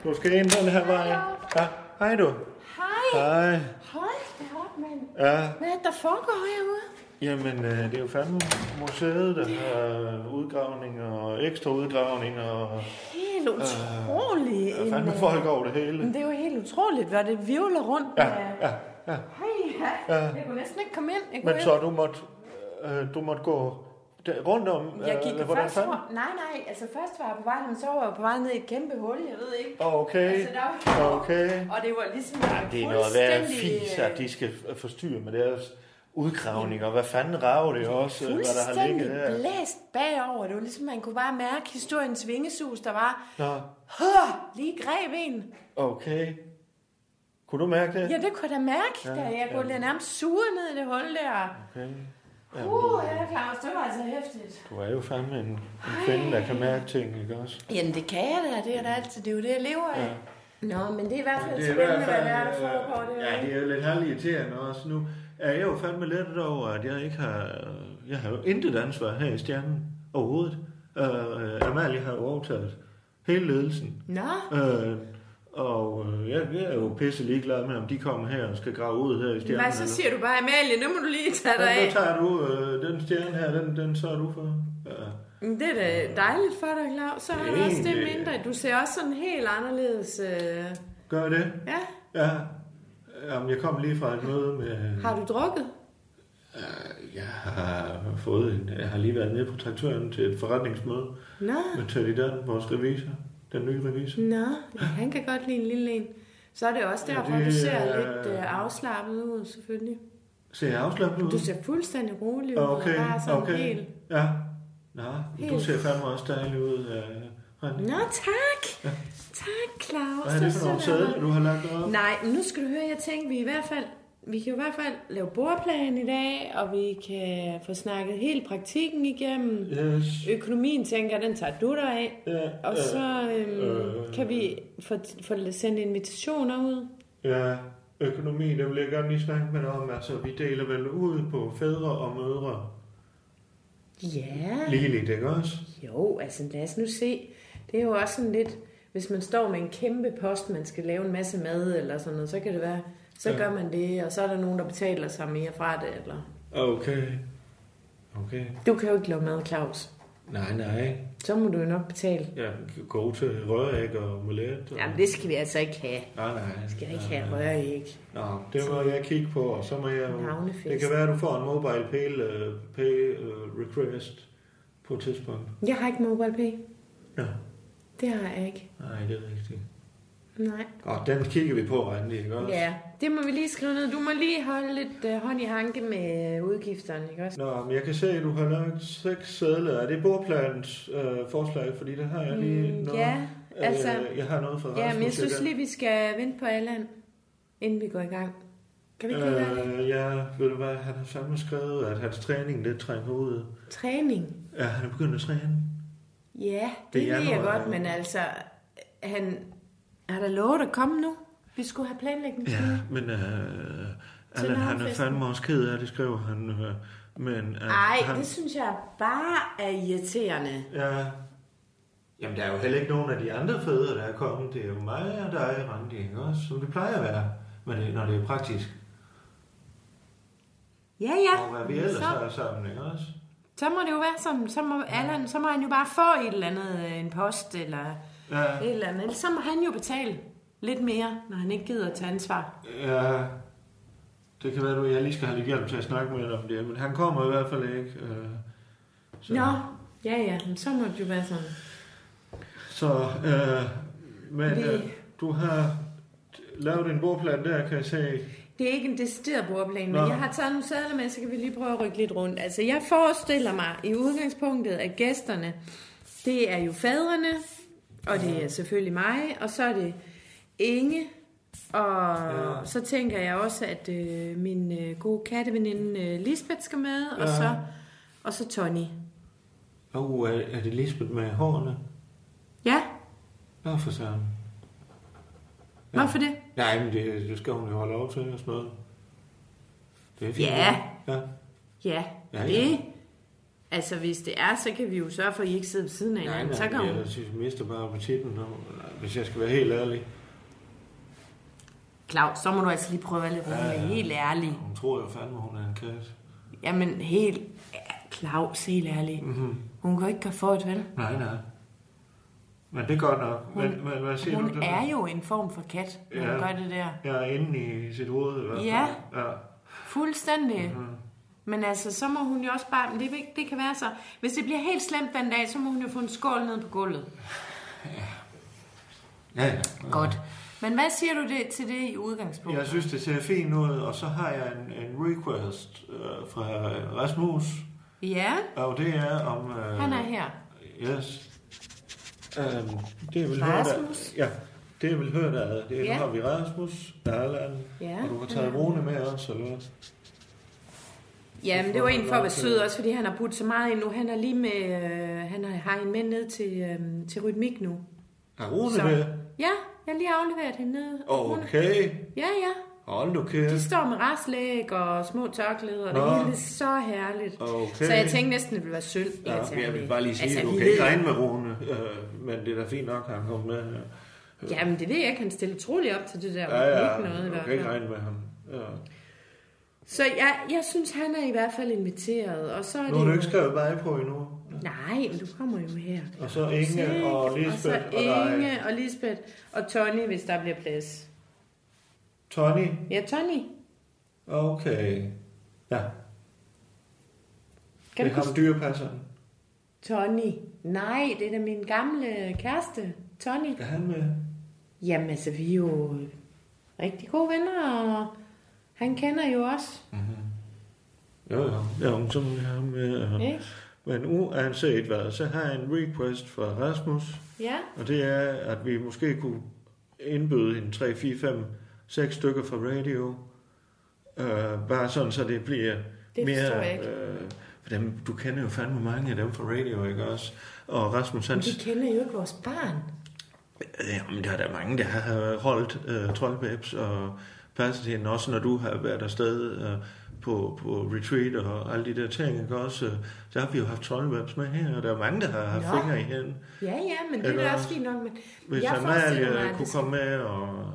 Du skal ind den her vej. Ja, hej du.
Hej.
Hej.
Hold da op, mand.
Ja,
Hvad er det, der foregår herude?
Jamen, øh, det er jo fandme museet, der har udgravning og ekstra udgravning og Øh,
Helt øh, utroligt.
der er fandme folk over det hele.
Men det er jo helt utroligt, hvad det virvler rundt
Ja,
med.
ja, ja.
Hej, ja. Jeg kunne næsten ikke komme ind. Jeg, kunne
Men så du måtte, øh, du måtte gå der, rundt om? øh,
ikke- jeg gik
eller
jo
hvordan
først
fanden?
rundt. Nej, nej. Altså først var jeg på vej, men så var jeg på vej ned i et kæmpe hul. Jeg ved ikke.
Ah, Okay,
Altså, der var...
okay.
Og øh, det var ligesom...
Ej, det er noget værd fis, at de skal f- øh, forstyrre med deres udgravning, og hvad fanden rager det også, øh, hvad der har ligget
Fuldstændig
her?
blæst bagover. Det var ligesom, man kunne bare mærke historiens vingesus, der var
Nå,
huh, lige greb en.
okay. Kunne du mærke det?
Ja, det kunne jeg da mærke. Ja, da jeg kunne ja. nærmest suge ned i det hul der.
Okay.
Uh, ja, Claus, det var altså hæftigt.
Du er jo fandme en, en kvinde, der kan mærke ting, ikke også?
Jamen, det kan jeg da. Det er da altid. Det er jo det, jeg lever af. Ja. Nå, men det er i hvert fald
Det er i
spændende,
hvert
hvad
fald,
der er, der
øh,
foregår der.
ja, det er jo lidt halvirriterende også nu. er jeg jo fandme lidt over, at jeg ikke har... Jeg har jo intet ansvar her i stjernen overhovedet. Øh, øh, Amalie har jo overtaget hele ledelsen.
Nå.
Øh, og øh, jeg, jeg er jo pisse ligeglad med, om de kommer her og skal grave ud her i stjernen.
Hvad så siger du bare, Amalie, nu må du lige tage dig
Ja,
af.
nu tager du øh, den stjerne her, den, den sørger du for. Ja.
Men Det er da dejligt for dig, Claus. Så har du også det
Egentlig,
mindre. Du ser også sådan helt anderledes. Øh...
Gør jeg det?
Ja,
Ja. Jamen, jeg kom lige fra et møde med... Øh,
har du drukket?
Jeg har fået en... Jeg har lige været nede på traktøren til et forretningsmøde
Nå,
med Teddy Dan, vores revisor. Den nye revisor.
nå. Ja, han kan godt lide en lille en. Så er det også
Ja,
derfor,
det
du ser
er-
lidt øh, afslappet ud, selvfølgelig.
Ser jeg afslappet ud?
Du ser fuldstændig rolig ud. og
Okay,
bare sådan
okay.
Helt...
Ja. Nå, men du
Helt-
ser fandme også dejlig ud. Øh, Randi.
Nå, tak. Tak, Claus.
Hvad er det for nogle sæder, du har lagt op?
Nej, men nu skal du høre, jeg tænkte, vi i hvert fald, vi kan i hvert fald lave bordplan i dag, og vi kan få snakket hele praktikken igennem.
Yes.
Økonomien, tænker jeg, den tager du dig af.
Ja,
og så øhm,
øh.
kan vi få, få sendt invitationer ud.
Ja, økonomi, der vil jeg gerne lige snakke med dig om. Altså, vi deler vel ud på fædre og mødre.
Ja.
Ligeligt, ikke også?
Jo, altså lad os nu se. Det er jo også sådan lidt, hvis man står med en kæmpe post, man skal lave en masse mad eller sådan noget, så kan det være, så
Ja.
ja. gør man det, og så er der nogen, der betaler sig mere fra det. Eller...
Okay. Okay.
Du kan jo ikke lave mad, Claus.
Nej, nej.
Så må du jo nok betale.
Ja, god til røræg og omelet. Og...
Jamen, det skal vi altså ikke have.
Nej, nej.
Vi skal ikke have røræg.
Nå, det må jeg kigge på, og så må jeg... jo-
Navnefest.
Det kan være, at du får en mobile pay, øh, pay øh, request på et tidspunkt.
Jeg har ikke MobilePay.
Nå.
Det har jeg ikke.
Nej, det er rigtigt.
Nej.
Og den kigger vi på, Randi, ikke også?
Ja, det må vi lige skrive ned. Du må lige holde lidt øh, hånd i hanke med øh, udgifterne, ikke også?
Nå, men jeg kan se, at du har lagt seks sædler. Er det bordplanens øh, forslag? Fordi det har jeg lige noget...
Mm, ja, altså-
Øh, jeg har noget fra
Ja, men jeg
Rasmus,
synes
kan-
lige, vi skal vente på Allan, inden vi går i gang. Kan vi ikke lige gøre det?
Øh, ja, ved du hvad, han har fandme skrevet, at hans træning lidt trænger ud.
Træning?
Ja, han er begyndt at træne.
Ja,
Det
det,
er
det ved jeg
januar,
godt,
ja.
men altså, han har da lovet at komme nu. Vi skulle have planlægning.
Ja, men øh, Allan, han er
navnefesten.
fandme også ked af det, skriver han. Øh, men, øh,
Nej,
han,
det synes jeg bare er irriterende.
Ja. Jamen, der er jo heller ikke nogen af de andre fædre, der er kommet. Det er jo mig og dig, Randi, ikke også? Som det plejer at være, men det, når det er praktisk.
Ja,
Og hvad vi
ja.
ellers
Så,
har sammen, ikke også?
så må det jo være sådan. Så må, Allan, så må han jo bare få et eller andet, øh, en post eller
Ja.
et eller andet. Ellers så må han jo betale lidt mere, når han ikke gider at tage ansvar.
Ja, det kan være, at jeg lige skal have lidt hjælp til at snakke med dig om det, men han kommer i hvert fald ikke. Øh,
Så. Nå, ja ja, men så må det jo være sådan.
så, øh, men
Vi-
øh, du har lavet en bordplan der, kan jeg se.
Det er ikke en decideret bordplan, men
Nå.
jeg har taget nogle sædler med, så kan vi lige prøve at rykke lidt rundt. Altså, jeg forestiller mig i udgangspunktet, at gæsterne, det er jo fadrene, og det er selvfølgelig mig, og så er det Inge, og ja. så tænker jeg også, at øh, min øh, gode katteveninde øh, Lisbeth skal med, og,
Ja.
så, og så Tony.
Åh, oh, er, er det Lisbeth med hårene?
Ja,
Nå, for søren.
hvorfor det?
Nej, men det, det skal hun jo holde over til og sådan noget. Det er fint.
Ja.
ja.
Ja,
Ja, ja.
ja, det. Altså, hvis det er, så kan vi jo sørge for, at I ikke sidder ved siden af
Nej,
hinanden. Så
nej,
kan
nej,
hun
jeg synes, jeg mister bare appetitten, når, hvis jeg skal være helt ærlig.
Claus, så må du altså lige prøve at være lidt rolig,
Ja, ja.
helt ærlig.
Hun tror jo fandme, hun er en kat.
Jamen, helt... ja, Claus, helt ærlig.
Mhm.
Hun kan jo ikke gøre for et, vel?
Nej, nej. Men det går nok.
Hun-
men, men hvad siger du?
Hun
der?
er jo en form for kat, når
Ja.
hun gør det der.
Jeg er inde i sit hoved i hvert fald.
Ja.
ja.
Fuldstændig.
Mhm.
Mm-hmm. Men altså, så må hun jo også bare... men Det, er ikke- det kan være så... Hvis det bliver helt slemt den dag, så må hun jo få en skål ned på gulvet.
Ja, ja.
Godt. Men hvad siger du det, til det i udgangspunktet?
Jeg synes, det ser fint ud, og så har jeg en, en request øh, fra Rasmus,
Ja,
og det er om... Øh,
han er her.
Yes. Øhm, det er vel
Rasmus?
Hørt, ja, det er vel hørt af. Det er,
Ja.
Nu har vi Rasmus, Erland,
Ja,
og du har
han
taget
er-
Rune med også, eller hvad?
Ja, men det var egentlig for at være sød, også fordi han har puttet så meget ind nu. Han er lige med, øh, han har, har en med ned til, øh, til rytmik nu.
Er Rune
Så-
med?
Ja, jeg har lige afleveret hende ned.
Okay.
Ja, ja.
Hold nu kæft.
De står med restlæg og små tørklæder, og
Nå.
det hele er så herligt.
Okay.
Så jeg tænkte næsten, det ville være sølv.
Ja,
altså,
men jeg vil bare lige sige,
altså,
altså, du
vi
kan
ved-
ikke regne med Rune, øh, men det er da fint nok, at han kom med. her.
Jamen, det ved jeg ikke. Han stiller utrolig op til det der.
Ja, ja,
ikke noget, i
du
hvert
kan ikke
fald.
regne med ham. Ja.
Så jeg, jeg synes, han er i hvert fald inviteret. Og så er
Nu
det
har du
jo-
ikke skrevet mig på endnu.
Nej, men du kommer jo her.
Og så Inge og
Sikke.
Lisbeth
Og
og
så
dig.
Inge og, og Lisbeth og Tony, hvis der bliver plads.
Tony?
Ja, Tony.
Okay. Ja.
Kan
det er
du
ham dyrepasseren.
Tony. Nej, det er da min gamle kæreste, Tony.
Er han med?
Jamen, altså, vi er jo rigtig gode venner, og han kender jo også.
Jo, jo. Ja, hun sådan her med...
Ikke?
Men uanset hvad, så har jeg en request fra Rasmus.
Ja.
Og det er, at vi måske kunne indbyde en 3, 4, 5, 6 stykker fra radio. Øh, bare sådan, så det bliver
Det forstår jeg
mere...
ikke.
Øh, for dem, du kender jo fandme mange af dem fra radio, ikke også? Og Rasmus,
Men
han...
vi kender jo ikke vores barn.
Jamen, der er der mange, der har holdt øh, troldbabs og passet til hende, også når du har været afsted øh, på, på retreat og alle de der ting, ikke også? Øh, Der har vi jo haft troldbabs med her, og der er mange, der har haft
Nå.
fingre i hende.
Ja, ja, men det er
Eller-
da også fint nok. Men
Hvis
jeg forestiller mig,
Amalie
at
kunne
det
komme med, og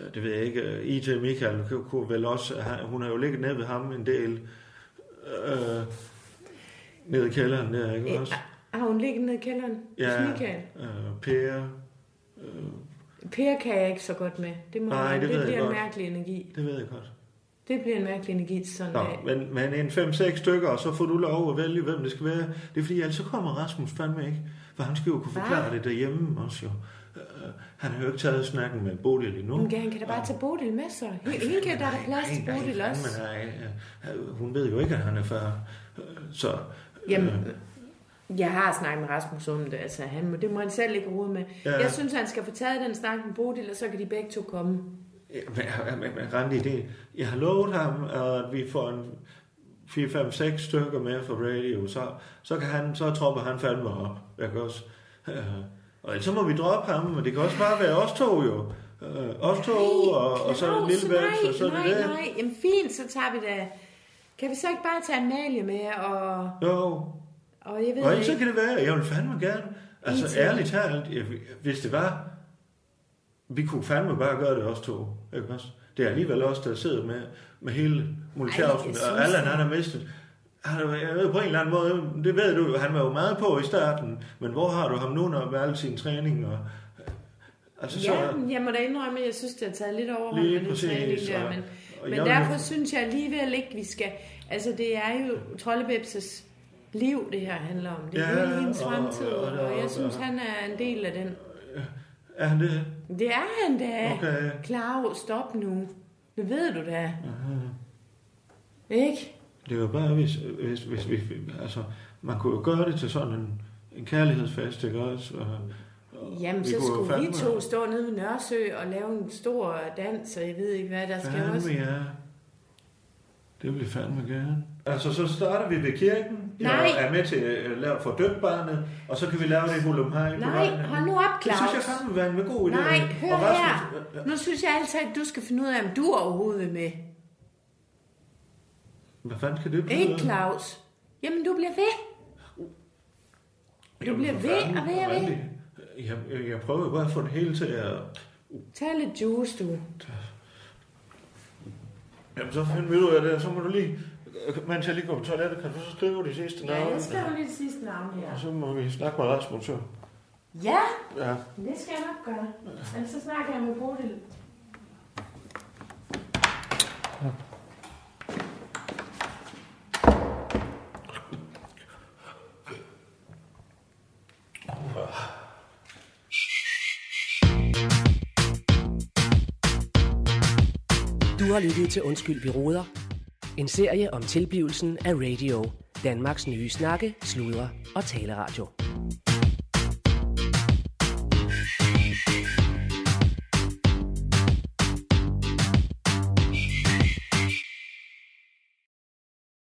øh, det ved jeg ikke, øh, IT Michael kunne- kunne vel også, han- hun har jo ligget ned ved ham en del, øh, nede i kælderen der, ikke også?
Har hun ligget nede i kælderen?
Ja,
Ja. Michael.
øh, Per, øh,
Per kan jeg ikke så godt med. Det, må
Nej,
jeg-
det ved
det
jeg
bliver en
godt.
mærkelig energi.
det ved jeg godt.
Det bliver en mærkelig energi til sådan en
Nå,
dag.
men, men en 5-6 stykker, og så får du lov at vælge, hvem det skal være. Det er fordi, ellers så kommer Rasmus fandme ikke. For han skal jo kunne
Hva?
forklare det derhjemme også jo. Øh, han har jo ikke taget snakken med Bodil endnu.
Men han kan da bare tage Bodil med sig. Hende hende kan der er da plads til Bodil også.
Nej, nej, øh, hun ved jo ikke, at han er far. Øh, Så,
Jamen, øh, jeg har snakket med Rasmus om det. Altså, han, må- det må han selv ikke rode med.
Ja.
Jeg synes, han skal få taget den snak med Bodil, og så kan de begge to komme.
men, men, men Randi, det, jeg har lovet ham, at vi får en 4-5-6 stykker med fra radio, så, så, kan han, så tropper han fandme op. Jeg kan også, øh, og ellers så må vi droppe ham, men det kan også bare være os to jo. Øh, os to, og, og så er det
Claus,
lille Vels, og så er
nej,
det det.
nej, nej. Jamen fint, så tager vi da... Kan vi så ikke bare tage Amalie med, og,
Jo,
og jeg ved
og ellers så
ikke...
kan det være, jeg vil fandme gerne. Altså
IT.
ærligt talt, jeg- hvis det var, vi kunne fandme bare gøre det også to. Ikke også? Det er alligevel også der sidder med, med hele
Ej,
Multiavsen,
jeg
og
synes
Allan
det.
han har mistet. Han, er- jeg ved på en eller anden måde, det ved du jo, han var jo meget på i starten, men hvor har du ham nu, når med al sin træning? Og, altså, så,
Ja, men jeg må da indrømme, at jeg synes, det har taget lidt over
Lige
med
præcis,
det træning der,
og-
men,
og
men
jeg vil-
derfor synes jeg alligevel ikke, vi skal... Altså, det er jo Trollebebses liv, det her handler om. Det er
Ja,
hele hendes
og-
fremtid,
og-
og,
og-
jeg
og-
synes, han er en del af den.
er han det?
Det er han da.
Okay.
Claus, stop nu. Det ved du da. Ikke?
Det var bare, hvis, hvis, hvis, hvis, altså, man kunne jo gøre det til sådan en, en kærlighedsfest, ikke også? Og, og
Jamen,
vi
så
kunne jo
skulle vi
fandme-
to stå nede ved Nørresø og lave en stor dans, og jeg ved ikke hvad, der skal
Fandme
også...
ja. Det vil jeg fandme gerne. Altså, så starter vi ved kirken.
Nej.
Jeg er med til at lave for dømt barnet, og så kan vi lave det i Volumhej.
Nej, hold nu op,
Det synes jeg
Claus.
fandme vil være en god idé.
Nej, hør
Og Rasmus-
her. Nu synes jeg altid, at du skal finde ud af, om du overhovedet vil med.
øh, Hvad fanden skal det
Ikke, Claus? Jamen, du bliver ved. Du bliver ved og ved og ved.
Jeg, jeg, jeg prøver jo bare at få det hele til at...
Tag lidt juice, du.
Jamen, så finder vi ud af det, og så må du lige... Mens jeg lige går på toilettet, kan du så skrive de sidste navne?
Ja, jeg skriver lige det sidste navn her.
Og så må vi snakke med Rasmus, så.
Ja,
Ja.
det skal jeg nok gøre. Ellers så snakker jeg med Bodil.
Du har lyttet til Undskyld, vi råder. En serie om tilblivelsen af radio. Danmarks nye snakke, sludre og taleradio.